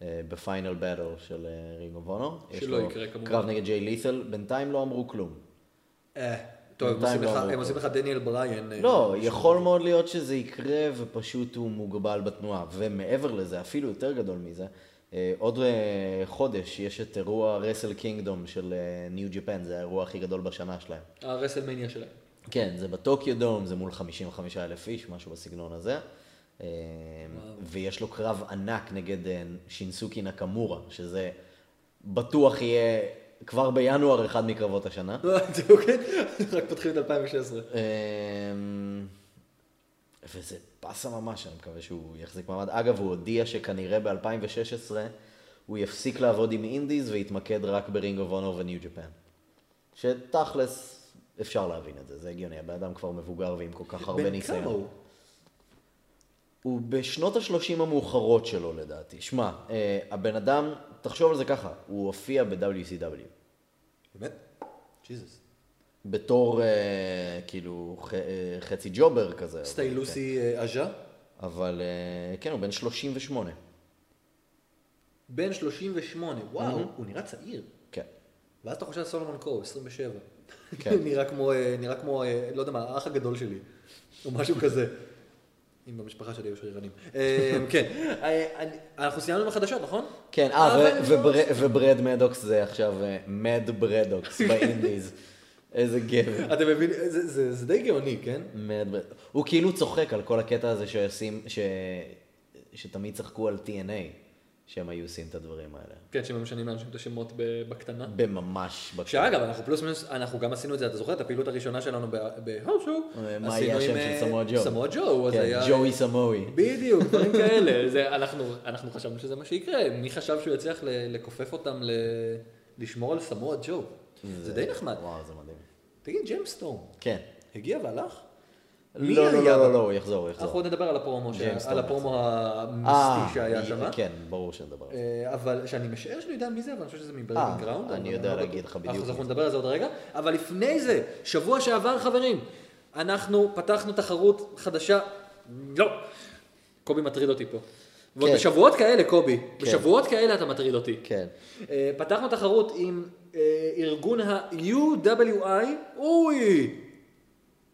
בפיינל באטל אה, של אה, רינג אוף אונור. שלא יקרה, כמובן. קרב נגד ג'יי לית'ל, בינתיים לא אמרו כלום. אה, טוב, הם בינתיים עושים לך- לא אמרו. הם עושים לך דניאל בריין. אה, לא, יכול מאוד להיות שזה יקרה ופשוט הוא מוגבל בתנועה. ומעבר לזה, אפילו יותר גדול מזה, אה, עוד אה, חודש יש את אירוע רסל קינגדום של אה, ניו ג'פן, זה האירוע הכי גדול בשנה שלהם. הרסלמניה שלהם. כן, זה בטוקיו דום, זה מול 55 אלף איש, משהו בסגנון הזה. אה, ויש לו קרב ענק נגד אה, שינסוקי נקמורה, שזה בטוח יהיה כבר בינואר אחד מקרבות השנה. זהו, כן. רק פותחים את 2016. אמ, וזה פסה ממש, אני מקווה שהוא יחזיק מעמד. אגב, הוא הודיע שכנראה ב-2016 הוא יפסיק לעבוד עם אינדיז ויתמקד רק ברינג אוף אונור וניו ג'פן. שתכלס, אפשר להבין את זה, זה הגיוני, הבן אדם כבר מבוגר ועם כל כך הרבה בן כמה ניסיון. הוא? הוא בשנות ה-30 המאוחרות שלו לדעתי. שמע, אה, הבן אדם, תחשוב על זה ככה, הוא הופיע ב-WCW. באמת? ג'יזוס. בתור אה, כאילו ח, אה, חצי ג'ובר כזה. כן. סטי אבל- לוסי אה, עז'ה. אבל אה, כן, הוא בן 38. בן 38. וואו, הוא נראה צעיר. כן. ואז אתה חושב על סולומון קרו, 27. כן. נראה כמו, אה, נראה כמו, אה, לא יודע מה, האח הגדול שלי, או משהו כזה. אם במשפחה שלי היו שרירנים. אה, כן, אה, אני- אנחנו סיימנו עם החדשות, נכון? כן, אה, אבל ו- לא- ובר- וברד מדוקס זה עכשיו אה, מד ברדוקס באינדיז. איזה גבר. אתה מבין, זה- זה זה די גאוני, כן? מד ברדוקס. הוא כאילו צוחק על כל הקטע הזה שעושים, ש... שתמיד צחקו על TNA, שהם היו עושים את הדברים האלה. כן, שהם משנים לאנשים את השמות ב- בקטנה. בממש שאגב, אנחנו פלוס מינוס, אנחנו גם עשינו את זה, אתה זוכר את הפעילות הראשונה שלנו בהושו? אה, מה יהיה השם של סמואל ג'ו? סמואל אה, ג'ו, אז כן, היה... אה, ג'וי סמואי. בדיוק, דברים כאלה. זה, אנחנו, אנחנו חשבנו שזה מה שיקרה. מי חשב שהוא יצליח ל- לכופף אותם, ל... לשמור על סמואל ג'ו? זה, די נחמד. וואו, זה מדהים. תגיד, ג'יימסטורם, כן. הגיע והלך? מי לא, לא, היה? לא, לא, לא, הוא יחזור, הוא אנחנו יחזור. עוד נדבר על הפרומו, ש... ג'יימסטורם על הפרומו אה, המסטי שהיה י- שם. כן, ברור שנדבר על זה. אה, אבל שאני משער שאני יודע מי זה, אבל אני חושב שזה אה, מברלינג גראונד. אני אבל יודע לא להגיד בטוח. לך בדיוק אז אנחנו מי נדבר על זה עוד רגע. אבל לפני זה, שבוע שעבר, חברים, אנחנו פתחנו תחרות חדשה. לא. קובי מטריד אותי פה. ועוד כן. בשבועות כאלה, קובי, בשבועות כאלה אתה מטריד אותי. כן. אה, פתחנו תחרות עם אה, ארגון ה-UWI, אוי!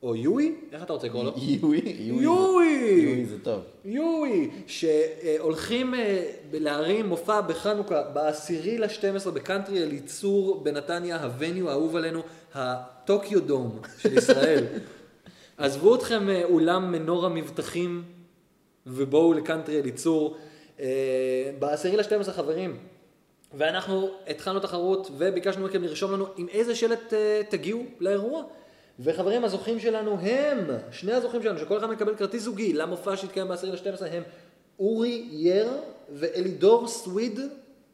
או יואי? איך אתה רוצה לקרוא לו? יואי, יואי. זה- יואי. יואי זה טוב. יואי, שהולכים אה, ב- להרים מופע בחנוכה בעשירי ל-12 בקאנטרי אליצור בנתניה, הווניו האהוב עלינו, הטוקיו דום של ישראל. עזבו אתכם אה, אולם מנור המבטחים ובואו לקאנטרי אליצור. אה, בעשירי ל-12 חברים. ואנחנו התחלנו תחרות וביקשנו מכם לרשום לנו עם איזה שלט אה, תגיעו לאירוע. וחברים, הזוכים שלנו הם, שני הזוכים שלנו, שכל אחד מקבל כרטיס זוגי למופע שהתקיים ב-10 ל-12, הם אורי יר ואלידור סוויד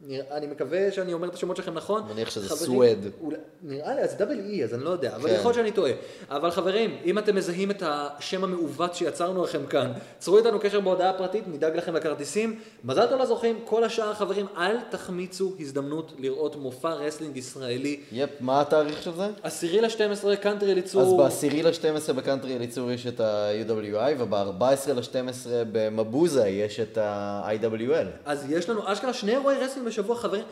נראה, אני מקווה שאני אומר את השמות שלכם נכון. מניח שזה חברים- סווד. אולי- נראה לי, אז WE, אז אני לא יודע, אבל כן. יכול להיות שאני טועה. אבל חברים, אם אתם מזהים את השם המעוות שיצרנו לכם כאן, צרו איתנו קשר בהודעה פרטית, נדאג לכם לכרטיסים. מזל טוב לזוכים, כל השאר, חברים, אל תחמיצו הזדמנות לראות מופע רסלינג ישראלי. יפ, מה התאריך של זה? עשירי לשתים עשרה, קאנטרי אליצור. אז ב-10 ל-12 בקאנטרי אליצור יש את ה-UWI, וב-14 ל-12 במבוזה יש את ה-IWL. אז יש לנו אשכרה שני אירועי רסלינג בשבוע, חברים.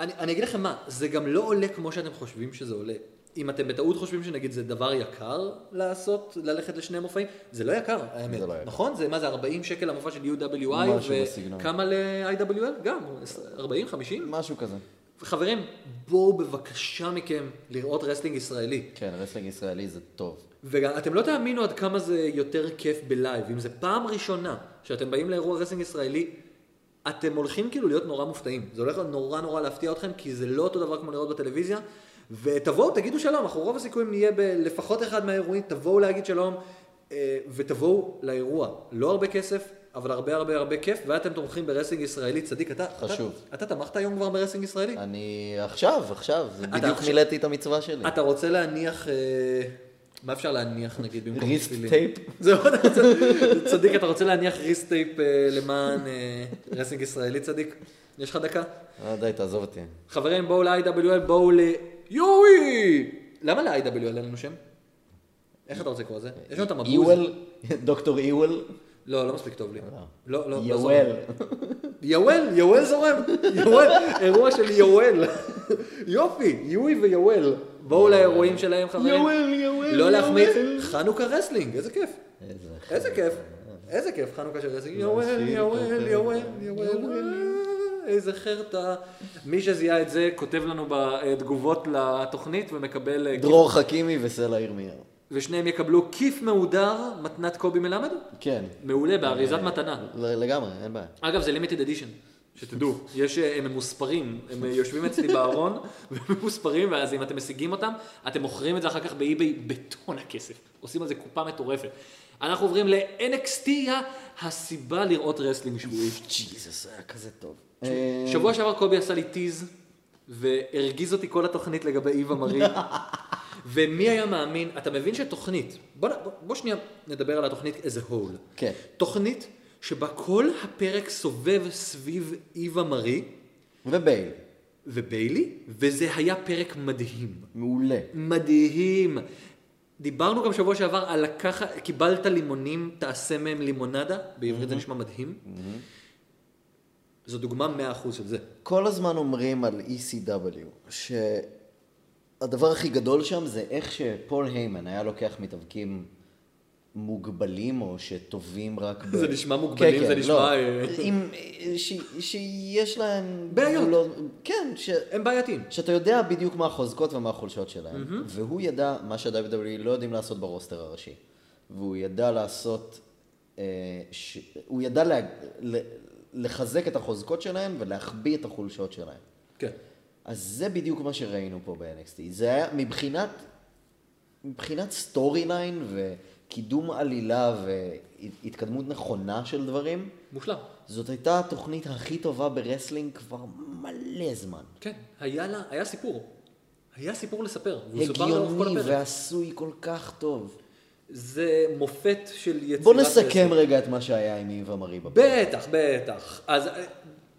אני, אני אגיד לכם מה, זה גם לא עולה כמו שאתם חושבים שזה עולה. אם אתם בטעות חושבים שנגיד זה דבר יקר לעשות, ללכת לשני מופעים, זה לא יקר, האמת. זה לא יקר. נכון? זה מה זה 40 שקל המופע של UWI, משהו בסגנון. וכמה ל-IWL? גם, 40, 50? משהו כזה. חברים, בואו בבקשה מכם לראות רסלינג ישראלי. כן, רסלינג ישראלי זה טוב. ואתם לא תאמינו עד כמה זה יותר כיף בלייב. אם זו פעם ראשונה שאתם באים לאירוע רסינג ישראלי, אתם הולכים כאילו להיות נורא מופתעים. זה הולך נורא נורא להפתיע אתכם, כי זה לא אותו דבר כמו לראות בטלוויזיה. ותבואו, תגידו שלום, אנחנו רוב הסיכויים נהיה בלפחות אחד מהאירועים, תבואו להגיד שלום, אה, ותבואו לאירוע. לא הרבה כסף, אבל הרבה הרבה הרבה כיף, ואתם תומכים ברסינג ישראלי. צדיק, אתה... חשוב. אתה, אתה תמכת היום כבר ברסינג ישראלי? אני עכשיו, עכשיו, זה בדיוק עכשיו- מילאתי את המצווה שלי. אתה רוצה להניח... אה, מה אפשר להניח נגיד במקום ריסט תפילין? טייפ. זהו, אתה רוצה- צדיק, אתה רוצה להניח ריסט טייפ אה, למען אה, רסינג ישראלי, צדיק? יש לך דקה? אה, די, תעזוב אותי. חברים, בואו ל-IWL, בואו ל... יואי! למה ל-IWL אין לנו שם? איך אתה רוצה לקרוא לזה? יש לנו את המבוז. איוול, דוקטור איוול. לא, לא מספיק טוב לי. לא, E לא, לא יואל. יואל, יואל זורם, יואל, אירוע של יואל. יופי, יואי ויואל. בואו לאירועים שלהם חברים. יואל, יואל, לא להחמיץ, יואל. חנוכה רסלינג, איזה כיף. איזה כיף, איזה כיף, חנוכה של רסלינג. יואל, שיר יואל, טוב. יואל, יואל, איזה חרטא. מי שזיהה את זה כותב לנו בתגובות לתוכנית ומקבל... אה, כיף- דרור חכימי וסלע ירמיהו. ושניהם יקבלו כיף מהודר, מתנת קובי מלמד. כן. מעולה, באריזת מתנה. ל- לגמרי, אין בעיה. אגב, זה לימיטד אדישן, שתדעו. יש, אה, הם ממוספרים, הם אה, יושבים אצלי בארון, והם ממוספרים, ואז אם אתם משיגים אותם, אתם מוכרים את זה אחר כך באי-ביי בטון הכסף. עושים על זה קופה מטורפת. אנחנו עוברים ל-NXT, הסיבה לראות רסלינג שבועי. ג'יזוס, היה כזה טוב. אה, שבוע שעבר קובי עשה לי טיז, והרגיז אותי כל התוכנית לגבי איווה מרי. ומי היה מאמין, אתה מבין שתוכנית, בוא, נ- בוא, בוא שנייה נדבר על התוכנית as a whole. כן. תוכנית שבה כל הפרק סובב סביב איווה מרי ובייל, וביילי, וזה היה פרק מדהים. מעולה. מדהים. דיברנו גם שבוע שעבר על לקחת, קיבלת לימונים, תעשה מהם לימונדה, בעברית זה נשמע מדהים. זו דוגמה 100% של זה. כל הזמן אומרים על ECW, שהדבר הכי גדול שם זה איך שפול היימן היה לוקח מתאבקים מוגבלים או שטובים רק ב... זה נשמע מוגבלים, כן, כן, זה נשמע, לא. אה, עם- ש- שיש להם... בעיות. גבולות- כן, ש... הם בעייתיים. שאתה יודע בדיוק מה החוזקות ומה החולשות שלהם. Mm-hmm. והוא ידע מה שה-WWE לא יודעים לעשות ברוסטר הראשי. והוא ידע לעשות... אה, ש... הוא ידע לה... ל... לחזק את החוזקות שלהם ולהחביא את החולשות שלהם. כן. אז זה בדיוק מה שראינו פה ב-NXT. זה היה מבחינת... מבחינת סטורי ליין וקידום עלילה והתקדמות נכונה של דברים, מושלם. זאת הייתה התוכנית הכי טובה ברסלינג כבר מלא זמן. כן. היה לה, היה סיפור. היה סיפור לספר. והוא סופר לאורך כל הגיוני הפרק. ועשוי כל כך טוב. זה מופת של יצירת... בוא נסכם רסלינג. רגע את מה שהיה עם איווה מרי בפרק. בטח, בטח. אז אה,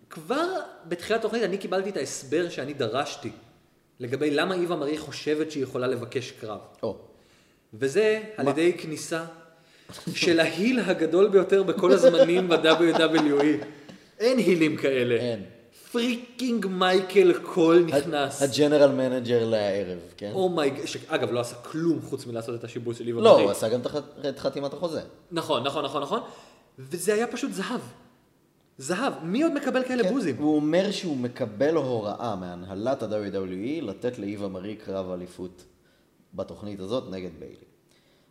כבר בתחילת התוכנית אני קיבלתי את ההסבר שאני דרשתי לגבי למה איווה מרי חושבת שהיא יכולה לבקש קרב. או, וזה על ידי כניסה של ההיל הגדול ביותר בכל הזמנים ב-WWE. אין הילים כאלה. אין. פריקינג מייקל קול נכנס. Oh הג'נרל מנג'ר לערב, כן? אומייג, שאגב לא עשה כלום חוץ מלעשות את השיבוץ של איווה לא, מרי. הוא עשה גם את הח- את חתימת החוזה. נכון, נכון, נכון, נכון. וזה היה פשוט זהב. זהב. מי עוד מקבל כאלה בוזים? כן. הוא אומר שהוא מקבל הוראה מהנהלת ה-WWE לתת לאיווה מרי קרב אליפות בתוכנית הזאת נגד ביילי.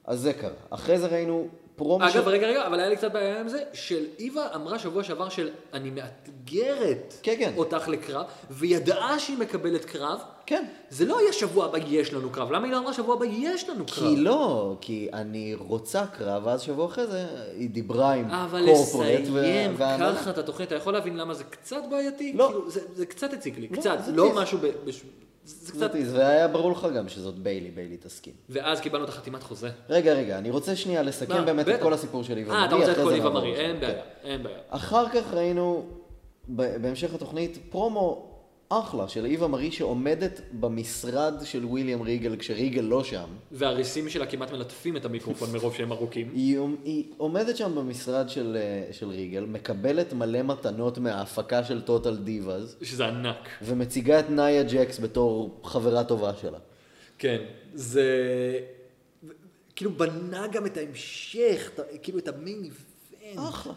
אז זה קרה. אחרי זה ראינו פרומו אגב, רגע, רגע, אבל היה לי קצת בעיה עם זה, של איווה אמרה שבוע שעבר של אני מאתגרת כן, כן. אותך לקרב, וידעה שהיא מקבלת קרב. כן. זה לא היה שבוע הבא יש לנו קרב, למה היא לא אמרה שבוע הבא יש לנו קרב? כי לא, כי אני רוצה קרב, ואז שבוע אחרי זה היא דיברה עם אבל קורפורט. ו- לסיים וההנהלה. ככה את התוכנית, אתה יכול להבין למה זה קצת בעייתי? לא. כאילו, זה, זה קצת הציק לי, קצת, זה לא טיס. משהו ב... בש... זה זה זה קצת... טיז, והיה ברור לך גם שזאת ביילי, ביילי תסכים. ואז קיבלנו את החתימת חוזה. רגע, רגע, אני רוצה שנייה לסכם מה, באמת את לא, בטח. כל הסיפור של איווה אה, אתה מרי, רוצה את אחרי כל זה איווה נעבור מרי, לשם. אין כן. בעיה, אין בעיה. אחר כך ראינו ב- בהמשך התוכנית פרומו אחלה של איווה מרי שעומדת במשרד של וויליאם ריגל כשריגל לא שם. והריסים שלה כמעט מלטפים את המיקרופון מרוב שהם ארוכים. היא, היא עומדת שם במשרד של, אה, של ריגל, מקבלת מלא מתנות מההפקה של טוטל דיבאז, שזה ענק. ומציגה את נאיה ג'קס בתור חברה טובה שלה. כן, זה... כאילו בנה גם את ההמשך, את- כאילו את המיין איבנט. אחלה.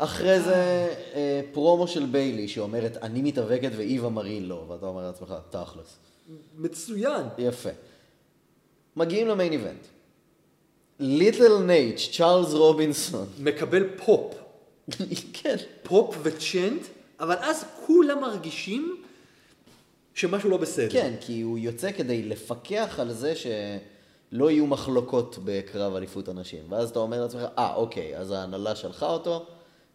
אחרי זה אה, פרומו של ביילי שאומרת, אני מתאבקת ואיווה מרי לא, ואתה אומר לעצמך, תכלס. מצוין. יפה. מגיעים למיין איבנט. ליטל נייץ', צ'ארלס רובינסון. מקבל פופ. כן. פופ וצ'נט, אבל אז כולם מרגישים שמשהו לא בסדר. כן, כי הוא יוצא כדי לפקח על זה שלא יהיו מחלוקות בקרב אליפות הנשים. ואז אתה אומר לעצמך, אה, אוקיי, אז ההנהלה שלחה אותו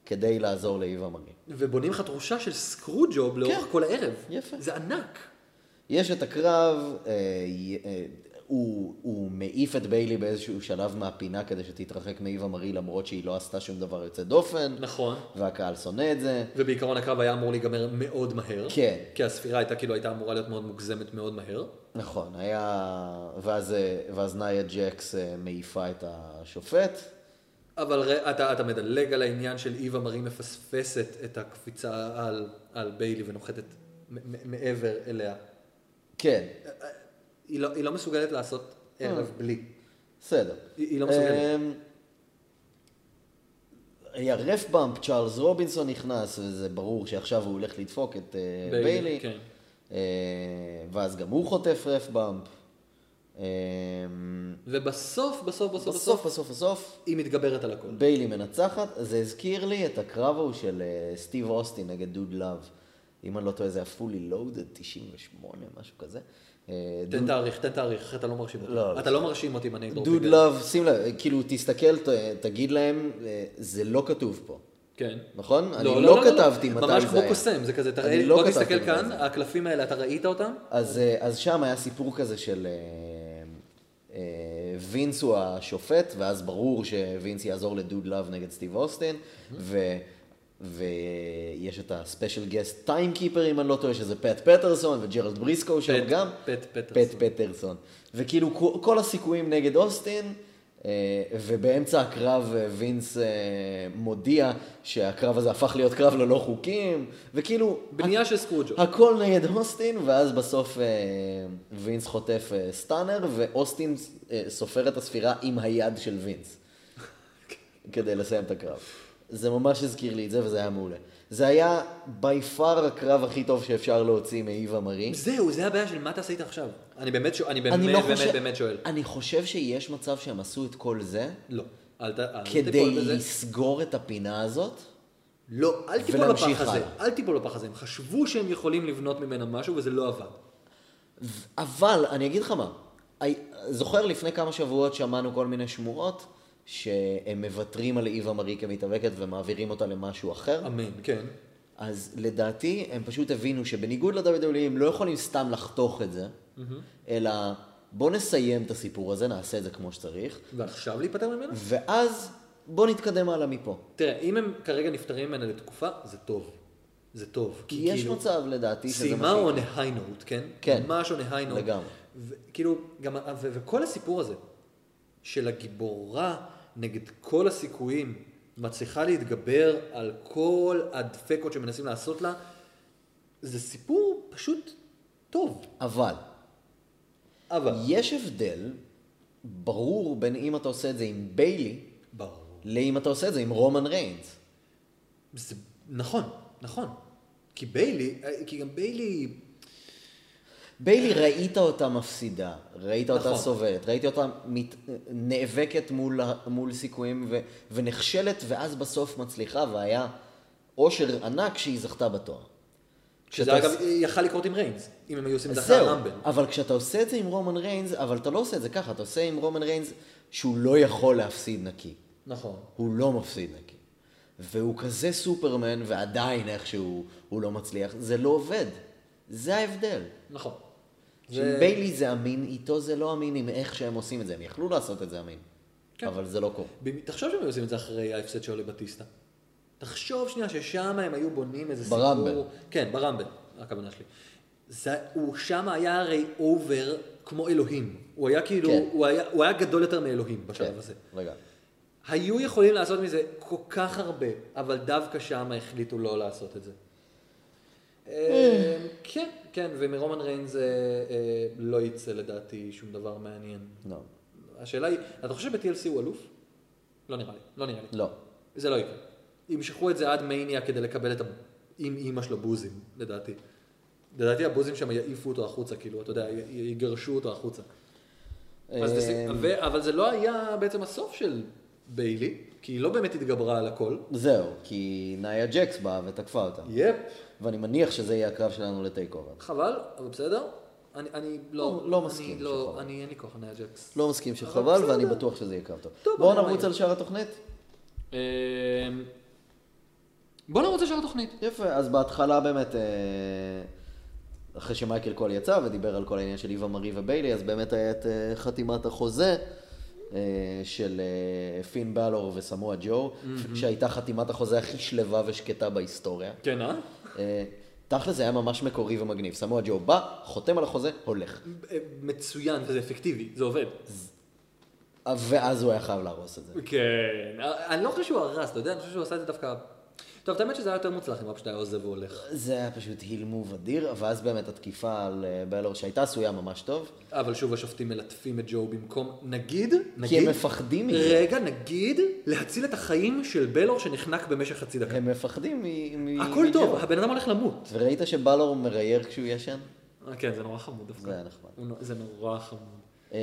כדי לעזור לאיווה מרי. ובונים לך תחושה של סקרו ג'וב לאורך כן. כל הערב. יפה. זה ענק. יש את הקרב, אה, י- אה, הוא, הוא מעיף את ביילי באיזשהו שלב מהפינה כדי שתתרחק מאיווה מרי למרות שהיא לא עשתה שום דבר יוצא דופן. נכון. והקהל שונא את זה. ובעיקרון הקרב היה אמור להיגמר מאוד מהר. כן. כי הספירה הייתה כאילו הייתה אמורה להיות מאוד מוגזמת מאוד מהר. נכון, היה... ואז, אה, ואז נאיה ג'קס אה, מעיפה את השופט. אבל ר... אתה, אתה מדלג על העניין של איווה מרי מפספסת את הקפיצה על, על ביילי ונוחתת מ- מ- מעבר אליה. כן, היא לא, היא לא מסוגלת לעשות ערב אה. בלי. בסדר. היא- היא לא מסוגלת. אמ, היה רף באמפ, צ'ארלס רובינסון נכנס, וזה ברור שעכשיו הוא הולך לדפוק את אה, ביילי, ביילי. כן. אה, ואז גם הוא חוטף רף באמפ. אמ, ובסוף, בסוף, בסוף, בסוף, בסוף, בסוף, בסוף, היא מתגברת על הכל. ביילי מנצחת. זה הזכיר לי את הקרב ההוא של אה, סטיב אוסטין נגד דוד לאב. אם אני לא טועה, זה היה fully loaded 98, משהו כזה. אה, תן תאריך, תן תאריך, אתה לא מרשים אותי. לא, לא. אתה לא מרשים אותי בנייק דרופינג. דוד לא, לאב, שים לב, כאילו, תסתכל, ת, תגיד להם, אה, זה לא כתוב פה, כן. נכון? אני לא, לא כתבתי מתי זה היה. ממש כמו קוסם, זה כזה, אני תראה, לא בוא כתבתי תסתכל מתי כאן, זה. הקלפים האלה, אתה ראית אותם? אז, אה, אז שם היה סיפור כזה של אה, אה, וינס הוא השופט, ואז ברור שווינס יעזור לדוד לאב נגד סטיב אוסטין, ו... ויש את הספיישל גסט טיימקיפר, אם אני לא טועה, שזה פט פטרסון וג'רלד בריסקו שם פט- גם. פט פטרסון. פט פטרסון. וכאילו כו- כל הסיכויים נגד אוסטין, אה, ובאמצע הקרב אה, וינס אה, מודיע שהקרב הזה הפך להיות קרב ללא חוקים, וכאילו... בנייה של סקרוג'ו. הכל נגד אוסטין, ואז בסוף אה, וינס חוטף אה, סטאנר, ואוסטין אה, סופר את הספירה עם היד של וינס. כדי לסיים את הקרב. זה ממש הזכיר לי את זה, וזה היה מעולה. זה היה by far הקרב הכי טוב שאפשר להוציא מאיווה מרי. זהו, זה הבעיה של מה אתה עשית עכשיו. אני באמת שואל, אני באמת, אני לא חושב... באמת, באמת שואל. אני חושב שיש מצב שהם עשו את כל זה, לא, אל ת- אל כדי תיפול בזה. לסגור את הפינה הזאת. לא, אל תיפול ולהמשיך לפח הזה. הלאה. אל תיפול לפח הזה. הם חשבו שהם יכולים לבנות ממנה משהו, וזה לא עבד. אבל אני אגיד לך מה, הי- זוכר לפני כמה שבועות שמענו כל מיני שמועות שהם מוותרים על איווה מרי כמתאבקת ומעבירים אותה למשהו אחר. אמן, כן. אז לדעתי הם פשוט הבינו שבניגוד ל-WWE הם לא יכולים סתם לחתוך את זה, אלא בוא נסיים את הסיפור הזה, נעשה את זה כמו שצריך, ועכשיו להיפטר ממנה? ואז בוא נתקדם הלאה מפה. תראה, אם הם כרגע נפטרים ממנה לתקופה, זה טוב. זה טוב. כי יש מצב לדעתי שזה מה כאילו סיימה שיקרה. on a high note, כן? כן. ממש on a high note. לגמרי. וכאילו, כאילו, גם, ה- ו, וכל הסיפור הזה של הגיבורה נגד כל הסיכויים מצליחה להתגבר על כל הדפקות שמנסים לעשות לה, זה סיפור פשוט טוב. אבל אבל, יש הבדל ברור בין אם אתה עושה את זה עם ביילי, ברור. לאם אתה עושה את זה עם רומן ריינס. זה, אה, נכון, נכון. כי ביילי, כי גם ביילי, ביילי, ראית אותה מפסידה, ראית אותה נכון. סובלת, ראית אותה מת... נאבקת מול, ה- מול סיכויים ו... ונכשלת, ואז בסוף מצליחה, והיה אושר ענק שהיא זכתה בתואר. שזה אגב יכל לקרות עם ריינס, אם הם היו עושים את אז זה זהו, אחרי הרמבל. אבל כשאתה עושה את זה עם רומן ריינס, אבל אתה לא עושה את זה ככה, אתה עושה עם רומן ריינס שהוא לא יכול להפסיד נקי. נכון. הוא לא מפסיד נקי. והוא כזה סופרמן, ועדיין איכשהו הוא לא מצליח. זה לא עובד. זה ההבדל. נכון. שעם ביילי זה אמין, איתו זה לא אמין עם איך שהם עושים את זה. הם יכלו לעשות את זה אמין. כן. אבל זה לא קורה. במ- תחשוב שהם היו עושים את זה אחרי ההפסד שלו לבטיסטה. תחשוב שנייה ששם הם היו בונים איזה סיפור. ברמבל. כן, ברמבל, הכוונה שלי. זה, הוא שם היה הרי אובר כמו אלוהים. הוא היה כאילו, כן. הוא, היה, הוא היה גדול יותר מאלוהים בשלב כן, הזה. רגע. היו יכולים לעשות מזה כל כך הרבה, אבל דווקא שם החליטו לא לעשות את זה. אה, כן, כן, ומרומן ריינס אה, אה, לא יצא לדעתי שום דבר מעניין. לא. השאלה היא, אתה חושב שב-TLC הוא אלוף? לא נראה לי, לא נראה לי. לא. זה לא יקרה. ימשכו את זה עד מניה כדי לקבל את ה... עם אימא שלו בוזים, לדעתי. לדעתי הבוזים שם יעיפו אותו החוצה, כאילו, אתה יודע, י- יגרשו אותו החוצה. אז אה, זה- ו- אבל זה לא היה בעצם הסוף של ביילי, כי היא לא באמת התגברה על הכל. זהו, כי נאיה ג'קס באה ותקפה אותה. יפ, ואני מניח שזה יהיה הקרב שלנו לטייק אובר. חבל, אבל בסדר. אני, אני לא, לא מסכים אני, לא, שחבל. אני אין לי כוח לניה ג'קס. לא מסכים אבל שחבל, בסדר. ואני בטוח שזה יהיה קרב טוב. טוב, בואו אני נרוץ מעניין. על שאר התוכנית. אה, אמ, בוא נרוץ לשאר התוכנית. יפה, אז בהתחלה באמת, אה, אחרי שמייקל קול יצא ודיבר על כל העניין של איווה מרי וביילי, אז באמת היה את אה, חתימת החוזה אה, של אה, פין בלור וסמואה ג'ו, שהייתה חתימת החוזה הכי שלווה ושקטה בהיסטוריה. כן, אה? אה, תכל'ס זה היה ממש מקורי ומגניב. סמואה ג'ו בא, חותם על החוזה, הולך. אה, מצוין, וזה אפקטיבי, זה עובד. אה, ואז הוא היה חייב להרוס את זה. כן, אני לא חושב שהוא הרס, אתה יודע, אני חושב שהוא עשה את זה דווקא... טוב, את האמת שזה היה יותר מוצלח אם אבא שלי היה עוזב והולך. זה היה פשוט היל מוב אדיר, ואז באמת התקיפה על אה, בלור שהייתה עשויה ממש טוב. אבל שוב השופטים מלטפים את ג'ו במקום, נגיד, נגיד... הם מפחדים מזה. רגע, נגיד, להציל את החיים של בלור שנחנק במשך חצי דקה. הם מפחדים מ... מ- הכל מג'ו. טוב, הבן אדם הולך למות. וראית שבלור מרייר כשהוא ישן? אה, כן, זה נורא חמוד דווקא. זה היה נחמד. הוא נו- זה נורא חמוד. אה,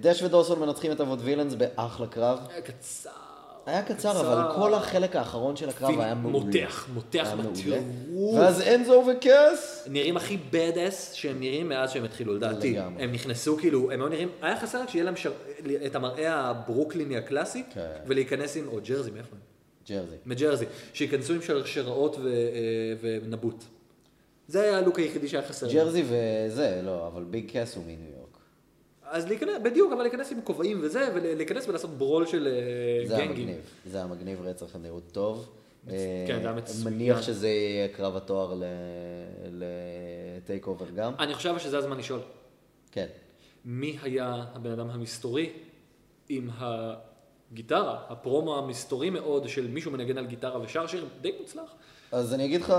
דש ודורסון מנצחים את אבות וילנס באחלה קרב. היה קצר. היה קצר, אבל כל החלק האחרון של הקרב פיני היה מעולה. מותח, מותח היה מעולה. בטירוף. ואז אנזו וקאס. נראים הכי bad ass שהם נראים מאז שהם התחילו, לדעתי. לגמרי. הם נכנסו כאילו, הם היו נראים, היה חסר רק שיהיה להם שר- את המראה הברוקליני הקלאסי, כן. ולהיכנס עם, או ג'רזי, מאיפה הם? ג'רזי. מג'רזי, שייכנסו עם שרשראות ו- אה, ונבוט. זה היה הלוק היחידי שהיה חסר. ג'רזי וזה, לא, אבל ביג קאס הוא מניו יורק. אז להיכנס, בדיוק, אבל להיכנס עם כובעים וזה, ולהיכנס ולעשות ברול של אה, זה היה גנגים. מגניב. זה היה מגניב רצח, הם נראו טוב. כן, זה היה אה, מצוין. מניח שזה יהיה קרב התואר ל- לטייק אובר גם. אני חושב שזה הזמן לשאול. כן. מי היה הבן אדם המסתורי עם הגיטרה, הפרומו המסתורי מאוד של מישהו מנגן על גיטרה ושר שיר די מוצלח. אז אני אגיד לך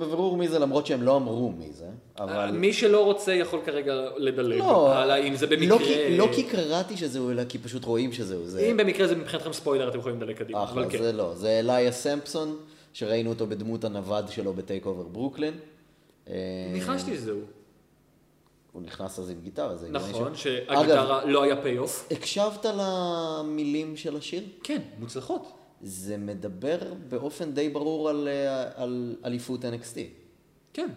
בבירור מי זה, למרות שהם לא אמרו מי זה, אבל... אה, מי שלא רוצה יכול כרגע לדלג לא, הלאה, אם זה במקרה... לא כי, לא כי קראתי שזהו, אלא כי פשוט רואים שזהו. זה... אם במקרה זה מבחינתכם ספוילר, אתם יכולים לדלג קדימה. אחלה, אבל כן. זה לא. זה אליה סמפסון, שראינו אותו בדמות הנווד שלו בטייק אובר ברוקלין. אה, ניחשתי שזהו. הוא נכנס אז עם גיטרה, זה הגיוני נכון, ש- אגב, שהגיטרה לא היה פי-אוף. הקשבת למילים של השיר? כן, מוצלחות. זה מדבר באופן די ברור על, אה, על אליפות NXT. כן.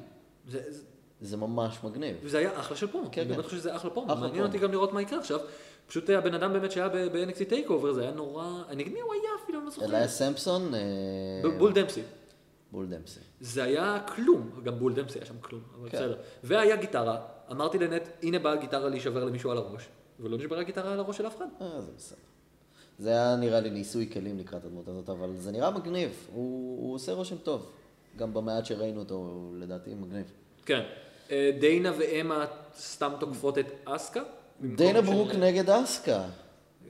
זה, זה, זה ממש מגניב. זה היה אחלה של פרומו. כן, אני באמת כן. חושב שזה אחלה פרומו. אחלה מעניין פרומו. אותי גם לראות מה יקרה עכשיו. פשוט אה, הבן אדם באמת שהיה ב-NXT טייק אובר, זה היה נורא... אני אגיד מי הוא היה אפילו, אני לא זוכר. אליה סמפסון, אה, ב- בול דמפסי. בול דמפסי. זה היה כלום, גם בול דמפסי היה שם כלום, אבל כן. בסדר. והיה גיטרה, אמרתי לנט, הנה באה הגיטרה להישבר למישהו על הראש, ולא נשברה גיטרה על הראש של אף אחד. אה, זה בסדר. זה היה נראה לי ניסוי כלים לקראת הדמות הזאת, אבל זה נראה מגניב. הוא, הוא עושה רושם טוב. גם במעט שראינו אותו, הוא לדעתי מגניב. כן. אה, דיינה ואמה סתם תוקפות את אסקה, במקום דיינה של- ברוק נגד אסקה,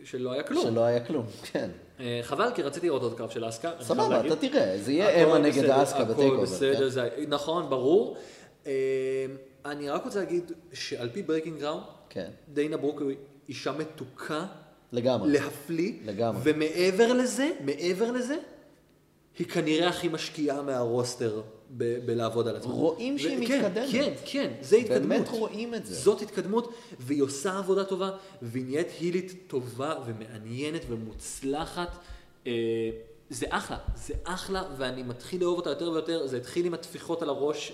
שלא היה כלום. שלא היה כלום, כן. אה, חבל, כי רציתי לראות עוד קרב של אסקה. אני חייב סבבה, להגיד. אתה תראה, זה הכל יהיה אמה נגד בסדר, אסקה בטייק הכל אובר. בסדר, כן? זה היה- נכון, ברור. אה, אני רק רוצה להגיד שעל פי ברייקינג גראונד, כן. דיינה ברוק היא אישה מתוקה לגמרי. להפליא. לגמרי. ומעבר לזה, מעבר לזה, היא כנראה הכי משקיעה מהרוסטר ב- בלעבוד על עצמה. רואים ו- שהיא כן, מתקדמת. כן, כן, זה באמת התקדמות. רואים את זה. זאת התקדמות, והיא עושה עבודה טובה, והיא נהיית הילית טובה ומעניינת ומוצלחת. אה, זה אחלה, זה אחלה, ואני מתחיל לאהוב אותה יותר ויותר. זה התחיל עם הטפיחות על הראש,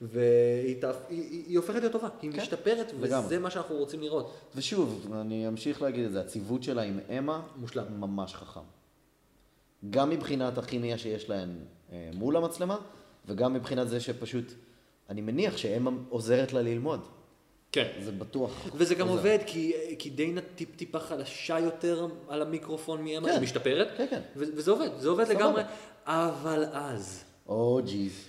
והיא תהפ- היא- היא- היא הופכת להיות טובה, היא משתפרת, כן, לגמרי. וזה מה שאנחנו רוצים לראות. ושוב, אני אמשיך להגיד את זה, הציוות שלה עם אמה, מושלם. ממש חכם. גם מבחינת הכימיה שיש להן אה, מול המצלמה, וגם מבחינת זה שפשוט, אני מניח שאמה עוזרת לה ללמוד, כן. זה בטוח. וזה גם עוזר. עובד, כי, כי דיינה טיפ-טיפה חלשה יותר על המיקרופון מאמה, כן. היא משתפרת, כן, כן. ו- וזה עובד, זה עובד סבבה. לגמרי, אבל אז, או ג'יז.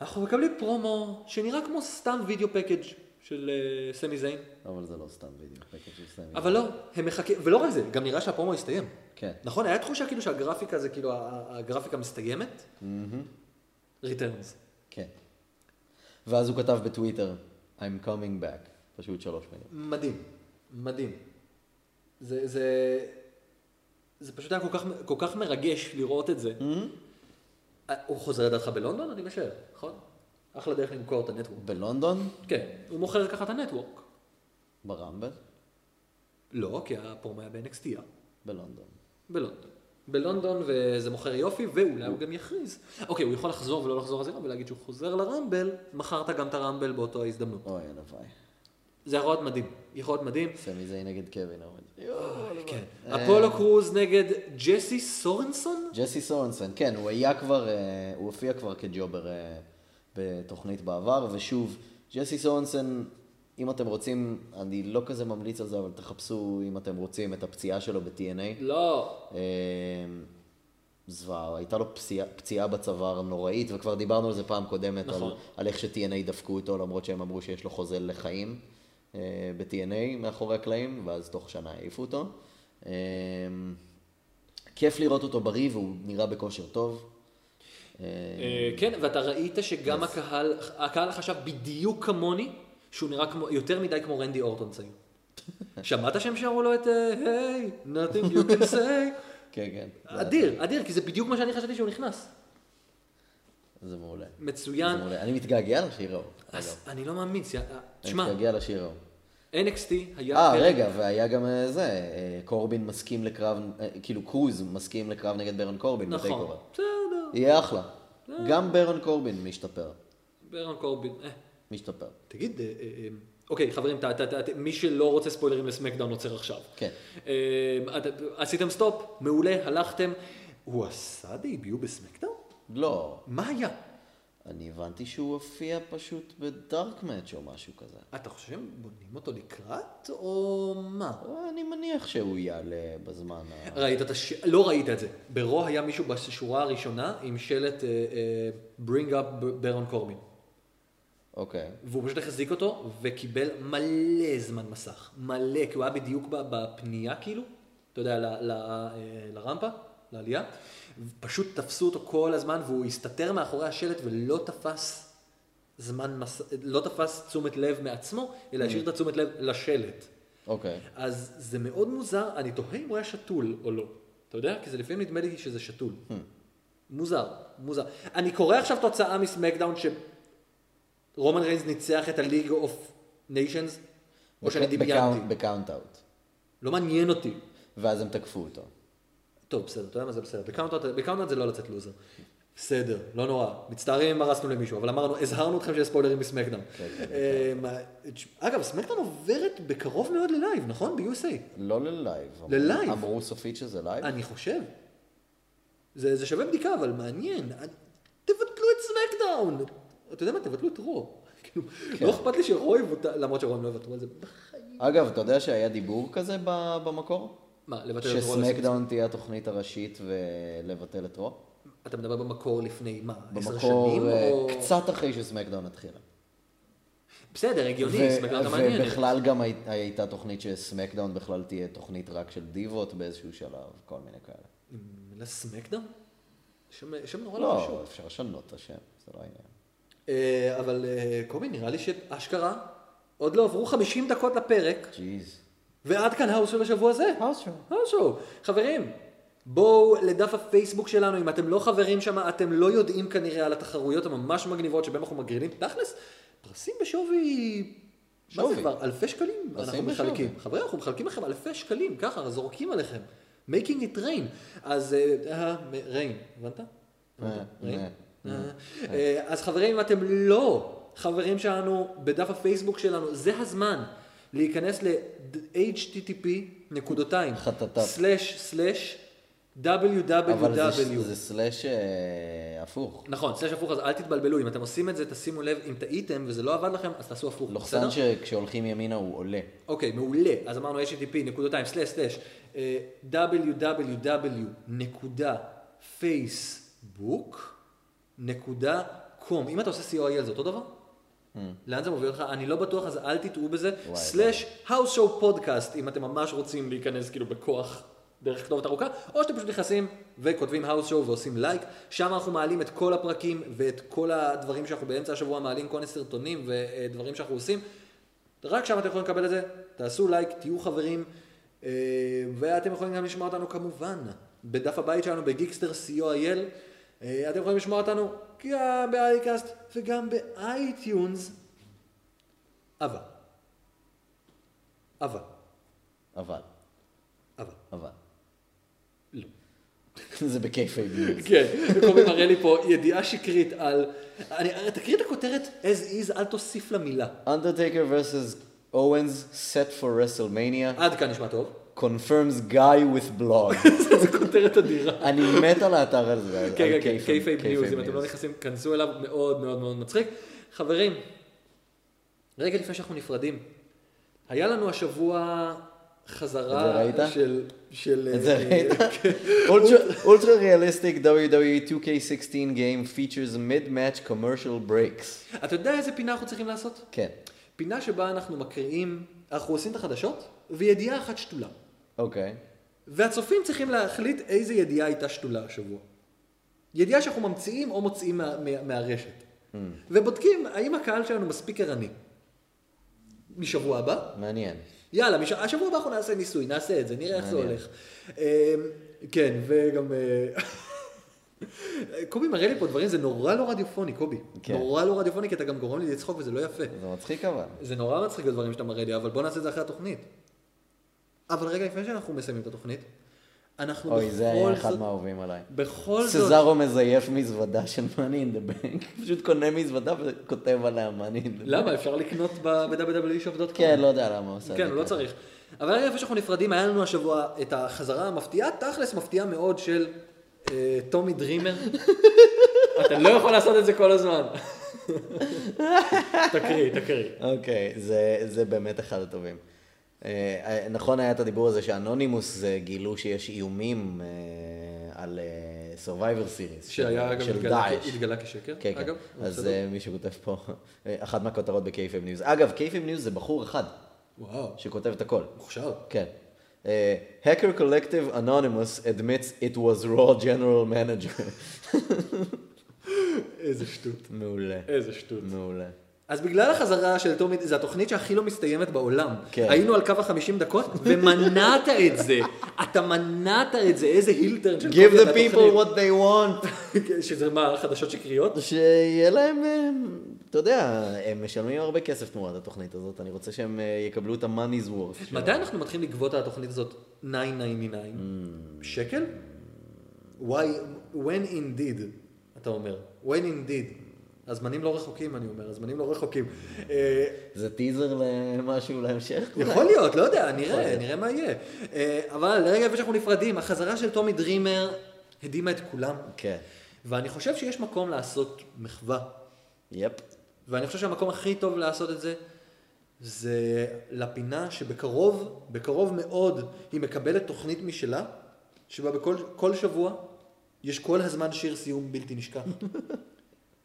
אנחנו מקבלים פרומו שנראה כמו סתם וידאו פקאג' של אה, סמי זיין, אבל זה לא סתם וידאו. פקט של סמי. אבל לא, הם מחכים, ולא רק זה, גם נראה שהפרומו הסתיים. כן. נכון, היה תחושה כאילו שהגרפיקה זה כאילו, ה- ה- הגרפיקה מסתיימת? ריטרנס. כן. ואז הוא כתב בטוויטר, I'm coming back. פשוט שלוש מילים. מדהים, מדהים. זה, זה, זה פשוט היה כל כך, כל כך מרגש לראות את זה. אה, הוא חוזר לדעתך בלונדון? אני משער, נכון? אחלה דרך למכור את הנטוורק. בלונדון, כן, הוא מוכר ככה את הנטוורק. ברמבל, לא, כי הפורמה היה ב-NXT, אה? בלונדון. בלונדון. בלונדון, וזה מוכר יופי, ואולי הוא גם יכריז. אוקיי, הוא יכול לחזור ולא לחזור לזירה ולהגיד שהוא חוזר לרמבל, מכרת גם את הרמבל באותו ההזדמנות. אוי, הלוואי. זה יכול להיות מדהים, יכול להיות מדהים. סמי זה נגד קווין אורן. כן. אפולו קרוז נגד ג'סי סורנסון? ג'סי סורנסון, כן, הוא היה כבר, אה, הוא הופיע כבר כג'ובר אה, בתוכנית בעבר, ושוב, ג'סי סורנסון, אם אתם רוצים, אני לא כזה ממליץ על זה, אבל תחפשו, אם אתם רוצים, את הפציעה שלו ב-TNA. לא. אה, זוועה, הייתה לו פציעה, פציעה בצוואר נוראית, וכבר דיברנו על זה פעם קודמת, נכון. על, על איך ש-TNA דפקו אותו, למרות שהם אמרו שיש לו חוזה לחיים אה, ב-TNA מאחורי הקלעים, ואז תוך שנה העיפו אותו. אה, כיף לראות אותו בריא, והוא נראה בכושר טוב. אה, כן, ואתה ראית שגם הקהל, הקהל חשב בדיוק כמוני, שהוא נראה כמו, יותר מדי כמו רנדי אורטון צעיר. שמעת שהם שרו לו את אה, היי, nothing you can say? כן, כן. אדיר, אדיר, כי זה בדיוק מה שאני חשבתי שהוא נכנס. זה, זה מעולה. מצוין. זה מעולה. אני מתגעגע לשיר ההוא. אגב. אז אני לא מאמין, זה- אה, אני תשמע, כן. מתגעגע לשיר ההוא. NXT היה... אה, פרק- רגע, והיה גם אה, זה, אה, קורבין מסכים לקרב, אה, כאילו קרוז מסכים לקרב נגד ברון קורבין נכון, אה. בטייקובר. בסדר, יהיה אחלה. גם ברון קורבין משתפר. ברון קורבין. אה. משתפר. תגיד, אה, אה, אה, אוקיי, חברים, ת- ת- ת- ת- מי שלא רוצה ספוילרים לסמקדאון עוצר עכשיו. כן. אה, את- עשיתם סטופ, מעולה, הלכתם. הוא עשה דייביו בסמקדאון? לא, מה היה? אני הבנתי שהוא הופיע פשוט בדארק מאץ' או משהו כזה. אתה חושב שהם בונים אותו לקראת, או מה? אני מניח שהוא יעלה בזמן ה... ראית את הש... לא ראית את זה. ברו היה מישהו בשורה הראשונה עם שלט אה, אה, Bring up ברון קורבין. אוקיי. והוא פשוט החזיק אותו, וקיבל מלא זמן מסך. מלא, כי הוא היה בדיוק ב- בפנייה כאילו, אתה יודע, ל, ל, אה, לרמפה, לעלייה. פשוט תפסו אותו כל הזמן, והוא הסתתר מאחורי השלט ולא תפס זמן מס... לא תפס תשומת לב מעצמו, אלא השאיר את התשומת לב לשלט. אוקיי. אז זה מאוד מוזר, אני תוהה אם הוא היה שתול או לא. אתה יודע? כי זה לפעמים נדמה לי שזה שתול. מוזר, מוזר. אני קורא עכשיו תוצאה מסמקדאון שרומן ריינס ניצח את הליג אוף ניישנס, או שאני בקאונט- דמיינתי. בקאונט אאוט. לא מעניין אותי. ואז הם תקפו אותו. טוב, בסדר, אתה יודע מה זה בסדר. בקאונטות- בקאונטות זה לא לצאת לוזר. בסדר, לא נורא. מצטערים אם הרסנו למישהו, אבל אמרנו, הזהרנו אתכם שיש ספוילרים מסמקדאון. אה, מה- אגב, סמקדאון עוברת בקרוב מאוד ללייב, נכון? ב-USA. לא ללייב. אמרו- ללייב? אמרו סופית שזה לייב? אני חושב. זה, זה שווה בדיקה, אבל מעניין. אני- תבטלו את סמקדאון. אתה יודע מה? תבטלו את רו. כאילו, כן. לא אכפת לי שרו יבוטל, למרות שרו הם לא יבטלו על זה. אגב, אתה יודע שהיה דיבור כזה ב- במקור? מה, לבטל את רו? שסמקדאון תהיה התוכנית הראשית ולבטל את רו? אתה מדבר במקור לפני מה? עשר במקור, שנים? אה, או... קצת אחרי שסמקדאון התחילה. בסדר, הגיוני, ו- סמקדאון המעניינת. ובכלל גם הי- הייתה תוכנית שסמקדאון בכלל תהיה תוכנית רק של דיבות באיזשהו שלב, כל מיני כאלה. המילה סמקדאון? שם, שם נורא לא לא, חשוב. אפשר לשנות את השם, זה לא העניין. אה, אבל אה, קובי, נראה לי שאשכרה, עוד לא עברו 50 דקות לפרק, ג'יז. ועד כאן האוס של השבוע הזה. האוס שואו. משהו. אה, חברים, בואו לדף הפייסבוק שלנו, אם אתם לא חברים שם, אתם לא יודעים כנראה על התחרויות הממש מגניבות שבהן אנחנו מגרילים, תכלס, פרסים בשווי... מה זה שווי. כבר? אלפי שקלים? אנחנו פרסים בשווי. מחלקים. חברים, אנחנו מחלקים לכם אלפי שקלים, ככה, זורקים עליכם. making it rain. אז... אה, אה, rain, הבנת? אוקיי, אה, rain? אה. אה, אז חברים, אם אתם לא חברים שלנו בדף הפייסבוק שלנו, זה הזמן להיכנס ל-http נקודתיים, חטטה. סלאש סלאש אבל זה- www. זה סלאש אה, הפוך. נכון, סלאש הפוך, אז אל תתבלבלו, אם אתם עושים את זה, תשימו לב, אם טעיתם וזה לא עבד לכם, אז תעשו הפוך, בסדר? לוחסן שכשהולכים ימינה הוא עולה. אוקיי, מעולה. אז אמרנו http נקודתיים סלאש סלאש אה, www נקודה פייסבוק נקודה קום. אם אתה עושה COI על זה אותו דבר? לאן זה מוביל אותך? אני לא בטוח, אז אל תטעו בזה. Hmm. וואי, סלאש house show podcast, אם אתם ממש רוצים להיכנס כאילו בכוח דרך כתובת ארוכה, או שאתם פשוט נכנסים וכותבים house show ועושים לייק. שם אנחנו מעלים את כל הפרקים ואת כל הדברים שאנחנו באמצע השבוע מעלים, כל מיני סרטונים ודברים שאנחנו עושים. רק שם אתם יכולים לקבל את זה, תעשו לייק, תהיו חברים, אה, ואתם יכולים גם לשמוע אותנו כמובן בדף הבית שלנו בגיקסטר co.il. אה, אתם יכולים לשמוע אותנו גם באיידקאסט וגם באייטיונס. אבל, אבל, אבל, אבל. אבל. לא. זה בכיף אה, איביוס. כן, קובי מראה לי פה ידיעה שקרית על... אני, תקריא את הכותרת as is, אל תוסיף לה מילה. Undertaker versus Owens set for WrestleMania עד כאן נשמע טוב. confirms guy with blog. זו כותרת אדירה. אני מת על האתר הזה. על כן, כן, כן, כיף- אה, קייפייב כיף ניוז, אם אתם איביוס. לא נכנסים, כנסו אליו, מאוד מאוד מאוד מצחיק. חברים, רגע לפני שאנחנו נפרדים, היה לנו השבוע חזרה את זה ראית? של... של... את זה אה, ראית? Ultra- Ultra realistic E WWE 2K16 game features mid-match commercial breaks. אתה יודע איזה פינה אנחנו צריכים לעשות? כן, פינה שבה אנחנו מקריאים, אנחנו עושים את החדשות, וידיעה אחת שתולה. אוקיי. והצופים צריכים להחליט איזה ידיעה הייתה שתולה השבוע. ידיעה שאנחנו ממציאים או מוציאים מה, מה, מהרשת. Mm. ובודקים האם הקהל שלנו מספיק ערני. משבוע הבא? מעניין. יאללה, מש... השבוע הבא אנחנו נעשה ניסוי, נעשה את זה, נראה איך זה הולך. אה, כן, וגם... אה, קובי מראה לי פה דברים, זה נורא לא רדיופוני, קובי. כן. נורא לא רדיופוני, כי אתה גם גורם לי לצחוק וזה לא יפה. זה מצחיק אבל. זה נורא מצחיק הדברים שאתה מראה לי, אבל בוא נעשה את זה אחרי התוכנית. אבל רגע, לפני שאנחנו מסיימים את התוכנית, אנחנו אוי, זה היה בכל אחד זאת... מהאהובים עליי. בכל זאת... סזארו מזייף מזוודה של money in the bank. פשוט קונה מזוודה וכותב עליה money in the bank. למה? אפשר לקנות ב-www.shop.com. כן, לא יודע למה הוא עושה את זה. כן, הוא לא ככה. צריך. אבל רגע, לפני שאנחנו נפרדים, היה לנו השבוע את החזרה המפתיעה, תכלס מפתיעה מאוד של אה, טומי דרימר. אתה לא יכול לעשות את זה כל הזמן. תקריא, תקריא. אוקיי, זה, זה באמת אחד הטובים. אה, נכון היה את הדיבור הזה שאנונימוס אה, גילו שיש איומים אה, על אה, Survivor Series. שהיה של- אגב, של התגלה דאעש. כ- התגלה כשקר, כן, כן. אגב. אז בסדר. אה, מישהו כותב פה, אה, אחת מהכותרות בקייפם ניוז. אגב, קייפם ניוז זה בחור אחד וואו, שכותב את הכל. מוכשר. כן. אה, Hacker Collective Anonymous admits it was raw general manager. איזה שטות. מעולה. איזה שטות. מעולה. אז בגלל החזרה של טומי, זו התוכנית שהכי לא מסתיימת בעולם. כן. היינו על קו החמישים דקות, ומנעת את זה. אתה מנעת את זה, איזה הילטרן של Give קובי על the people התוכנית. what they want. כן, שזה מה, חדשות שקריות? שיהיה להם, אה, אתה יודע, הם משלמים הרבה כסף תמורת התוכנית הזאת, אני רוצה שהם אה, יקבלו את ה-money's worth. שלהם. מתי אנחנו מתחילים לגבות על התוכנית הזאת 9.99? שקל? Why, when indeed, אתה אומר. When indeed. הזמנים לא רחוקים, אני אומר, הזמנים לא רחוקים. אה, זה טיזר למשהו להמשך? יכול להיות, לא יודע, נראה, נראה מה יהיה. אה, אבל לרגע לפני שאנחנו נפרדים, החזרה של טומי דרימר הדהימה את כולם. כן. ואני חושב שיש מקום לעשות מחווה. יפ. ואני חושב שהמקום הכי טוב לעשות את זה, זה לפינה שבקרוב, בקרוב מאוד, היא מקבלת תוכנית משלה, שבה בכל כל שבוע יש כל הזמן שיר סיום בלתי נשכח.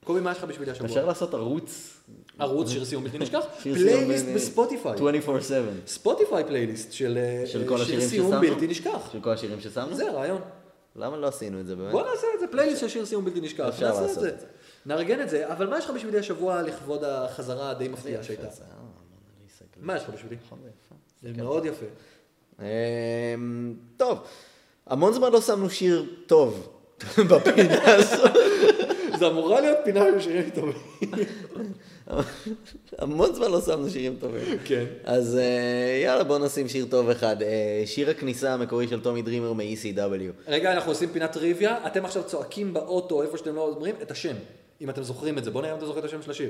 קובי, מה יש לך בשבילי אפשר השבוע? לעשות ערוץ ערוץ שיר סיום בלתי נשכח? שיר סיום אה, פלייליסט בין- בספוטיפיי. 24/7. ספוטיפיי פלייליסט של אה, של כל שיר השירים סיום ששמנו? בלתי נשכח. של כל השירים ששמנו? זה הרעיון. למה לא עשינו את זה באמת? בוא נעשה את זה, פלייליסט של שיר סיום בלתי נשכח. אפשר נעשה לעשות את את זה. נארגן את זה, אבל מה יש לך בשבילי השבוע לכבוד החזרה הדי מפתיעה שהייתה? אז, אה, מונליסה, כאילו, כן. מה יש לך בשבילי? נכון, זה יפה. זה מאוד יפה. אמ, טוב, המון זמן לא שמנו שיר טוב בפינה הזאת. זה אמורה להיות פינה של שירים טובים. המון זמן לא שמנו שירים טובים. כן. אז אה, יאללה, בוא נשים שיר טוב אחד. אה, שיר הכניסה המקורי של טומי דרימר מ-ECW. רגע, אנחנו עושים פינת טריוויה, אתם עכשיו צועקים באוטו, איפה שאתם לא אומרים, את השם. אם אתם זוכרים את זה, בוא נראה אם אתה זוכר את השם של השיר.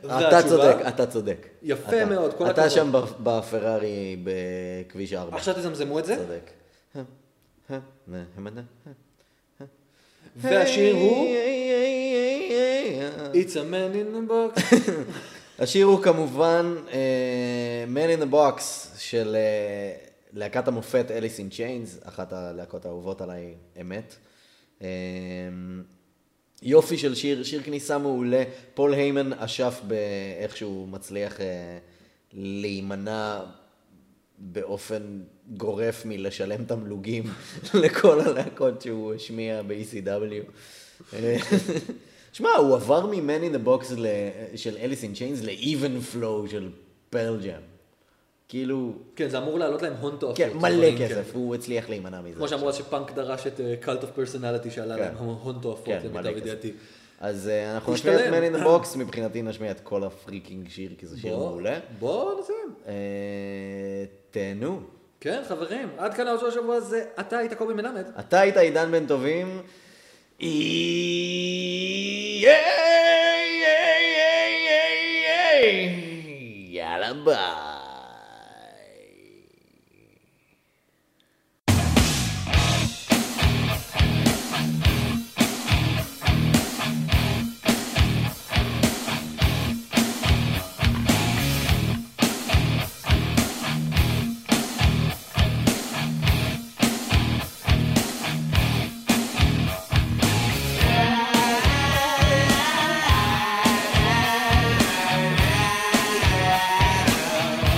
אתה והתשובה- צודק, אתה צודק. יפה אתה. מאוד, כל אתה הכבוד. שם ב- בפרארי בכביש 4. עכשיו תזמזמו את זה, צודק. והשיר הוא הוא... It's a man in a box. השיר הוא כמובן אה, Man in the Box של אה, להקת המופת אליס אין צ'יינס, אחת הלהקות האהובות עליי, אמת. אה, יופי של שיר, שיר כניסה מעולה. פול היימן אשף באיך שהוא מצליח אה, להימנע באופן גורף מלשלם תמלוגים לכל הלהקות שהוא השמיע ב-ECW. אה, שמע, הוא עבר מ-Man in the Box ל- של אליס אין צ'יינס ל-Even Flow של פרל ג'אם. כאילו, כן, זה אמור לעלות להם הון תועפות. כן, אבל מלא כן. כסף, הוא הצליח להימנע מזה. כמו שאמרו אז שפאנק דרש את אה, קלט אוף פרסונליטי שעלה כן. להם הון תועפות, כן, מלא למיטב ידיעתי. כסף. אז אה, אנחנו נשמיע את השתלם. Man in the Box, מבחינתי נשמיע את כל הפריקינג שיר, כי זה שיר בוא- מעולה. בואו נסיים. אה, תהנו. כן, חברים, עד כאן העוד השבוע הזה, אתה היית קובי מלמד. אתה היית עידן בן טובים. איי, איי, איי, איי, איי, איי. יאללה ביי. Thank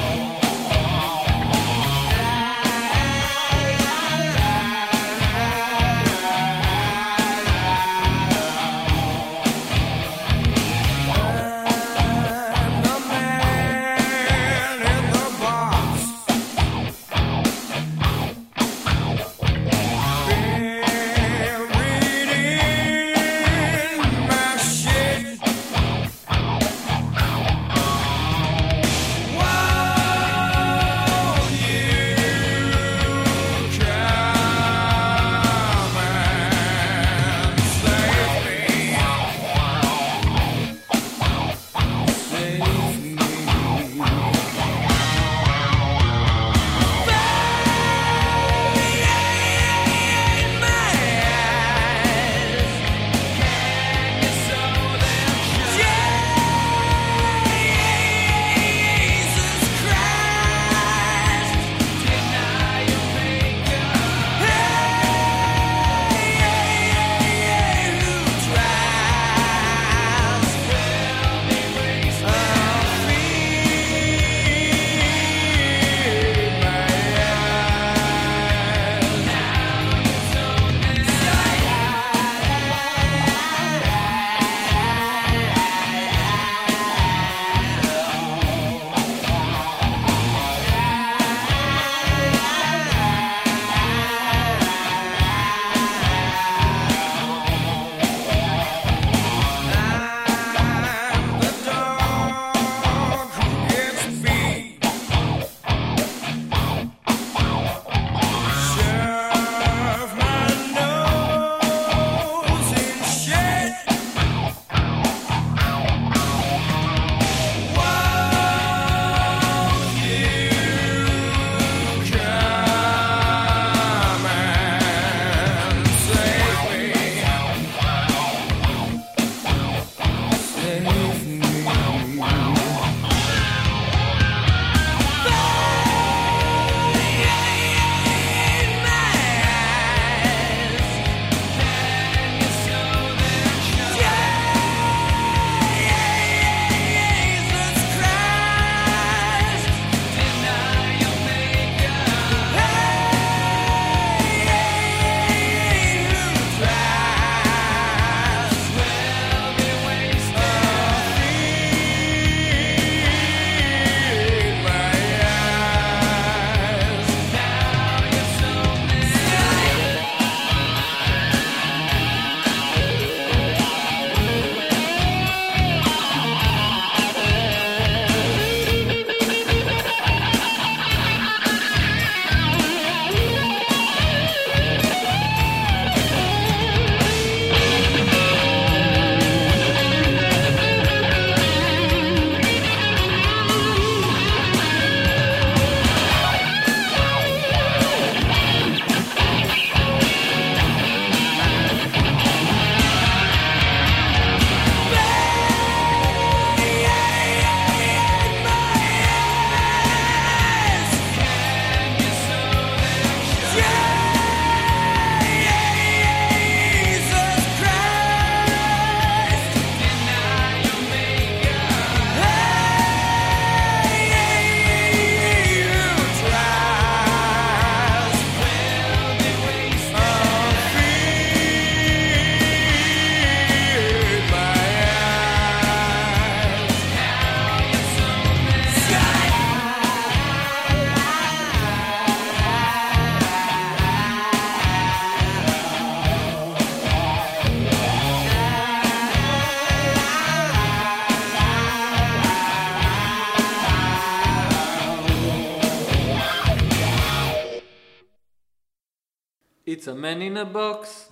It's a man in a box.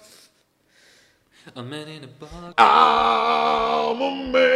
A man in a box. I'm a man.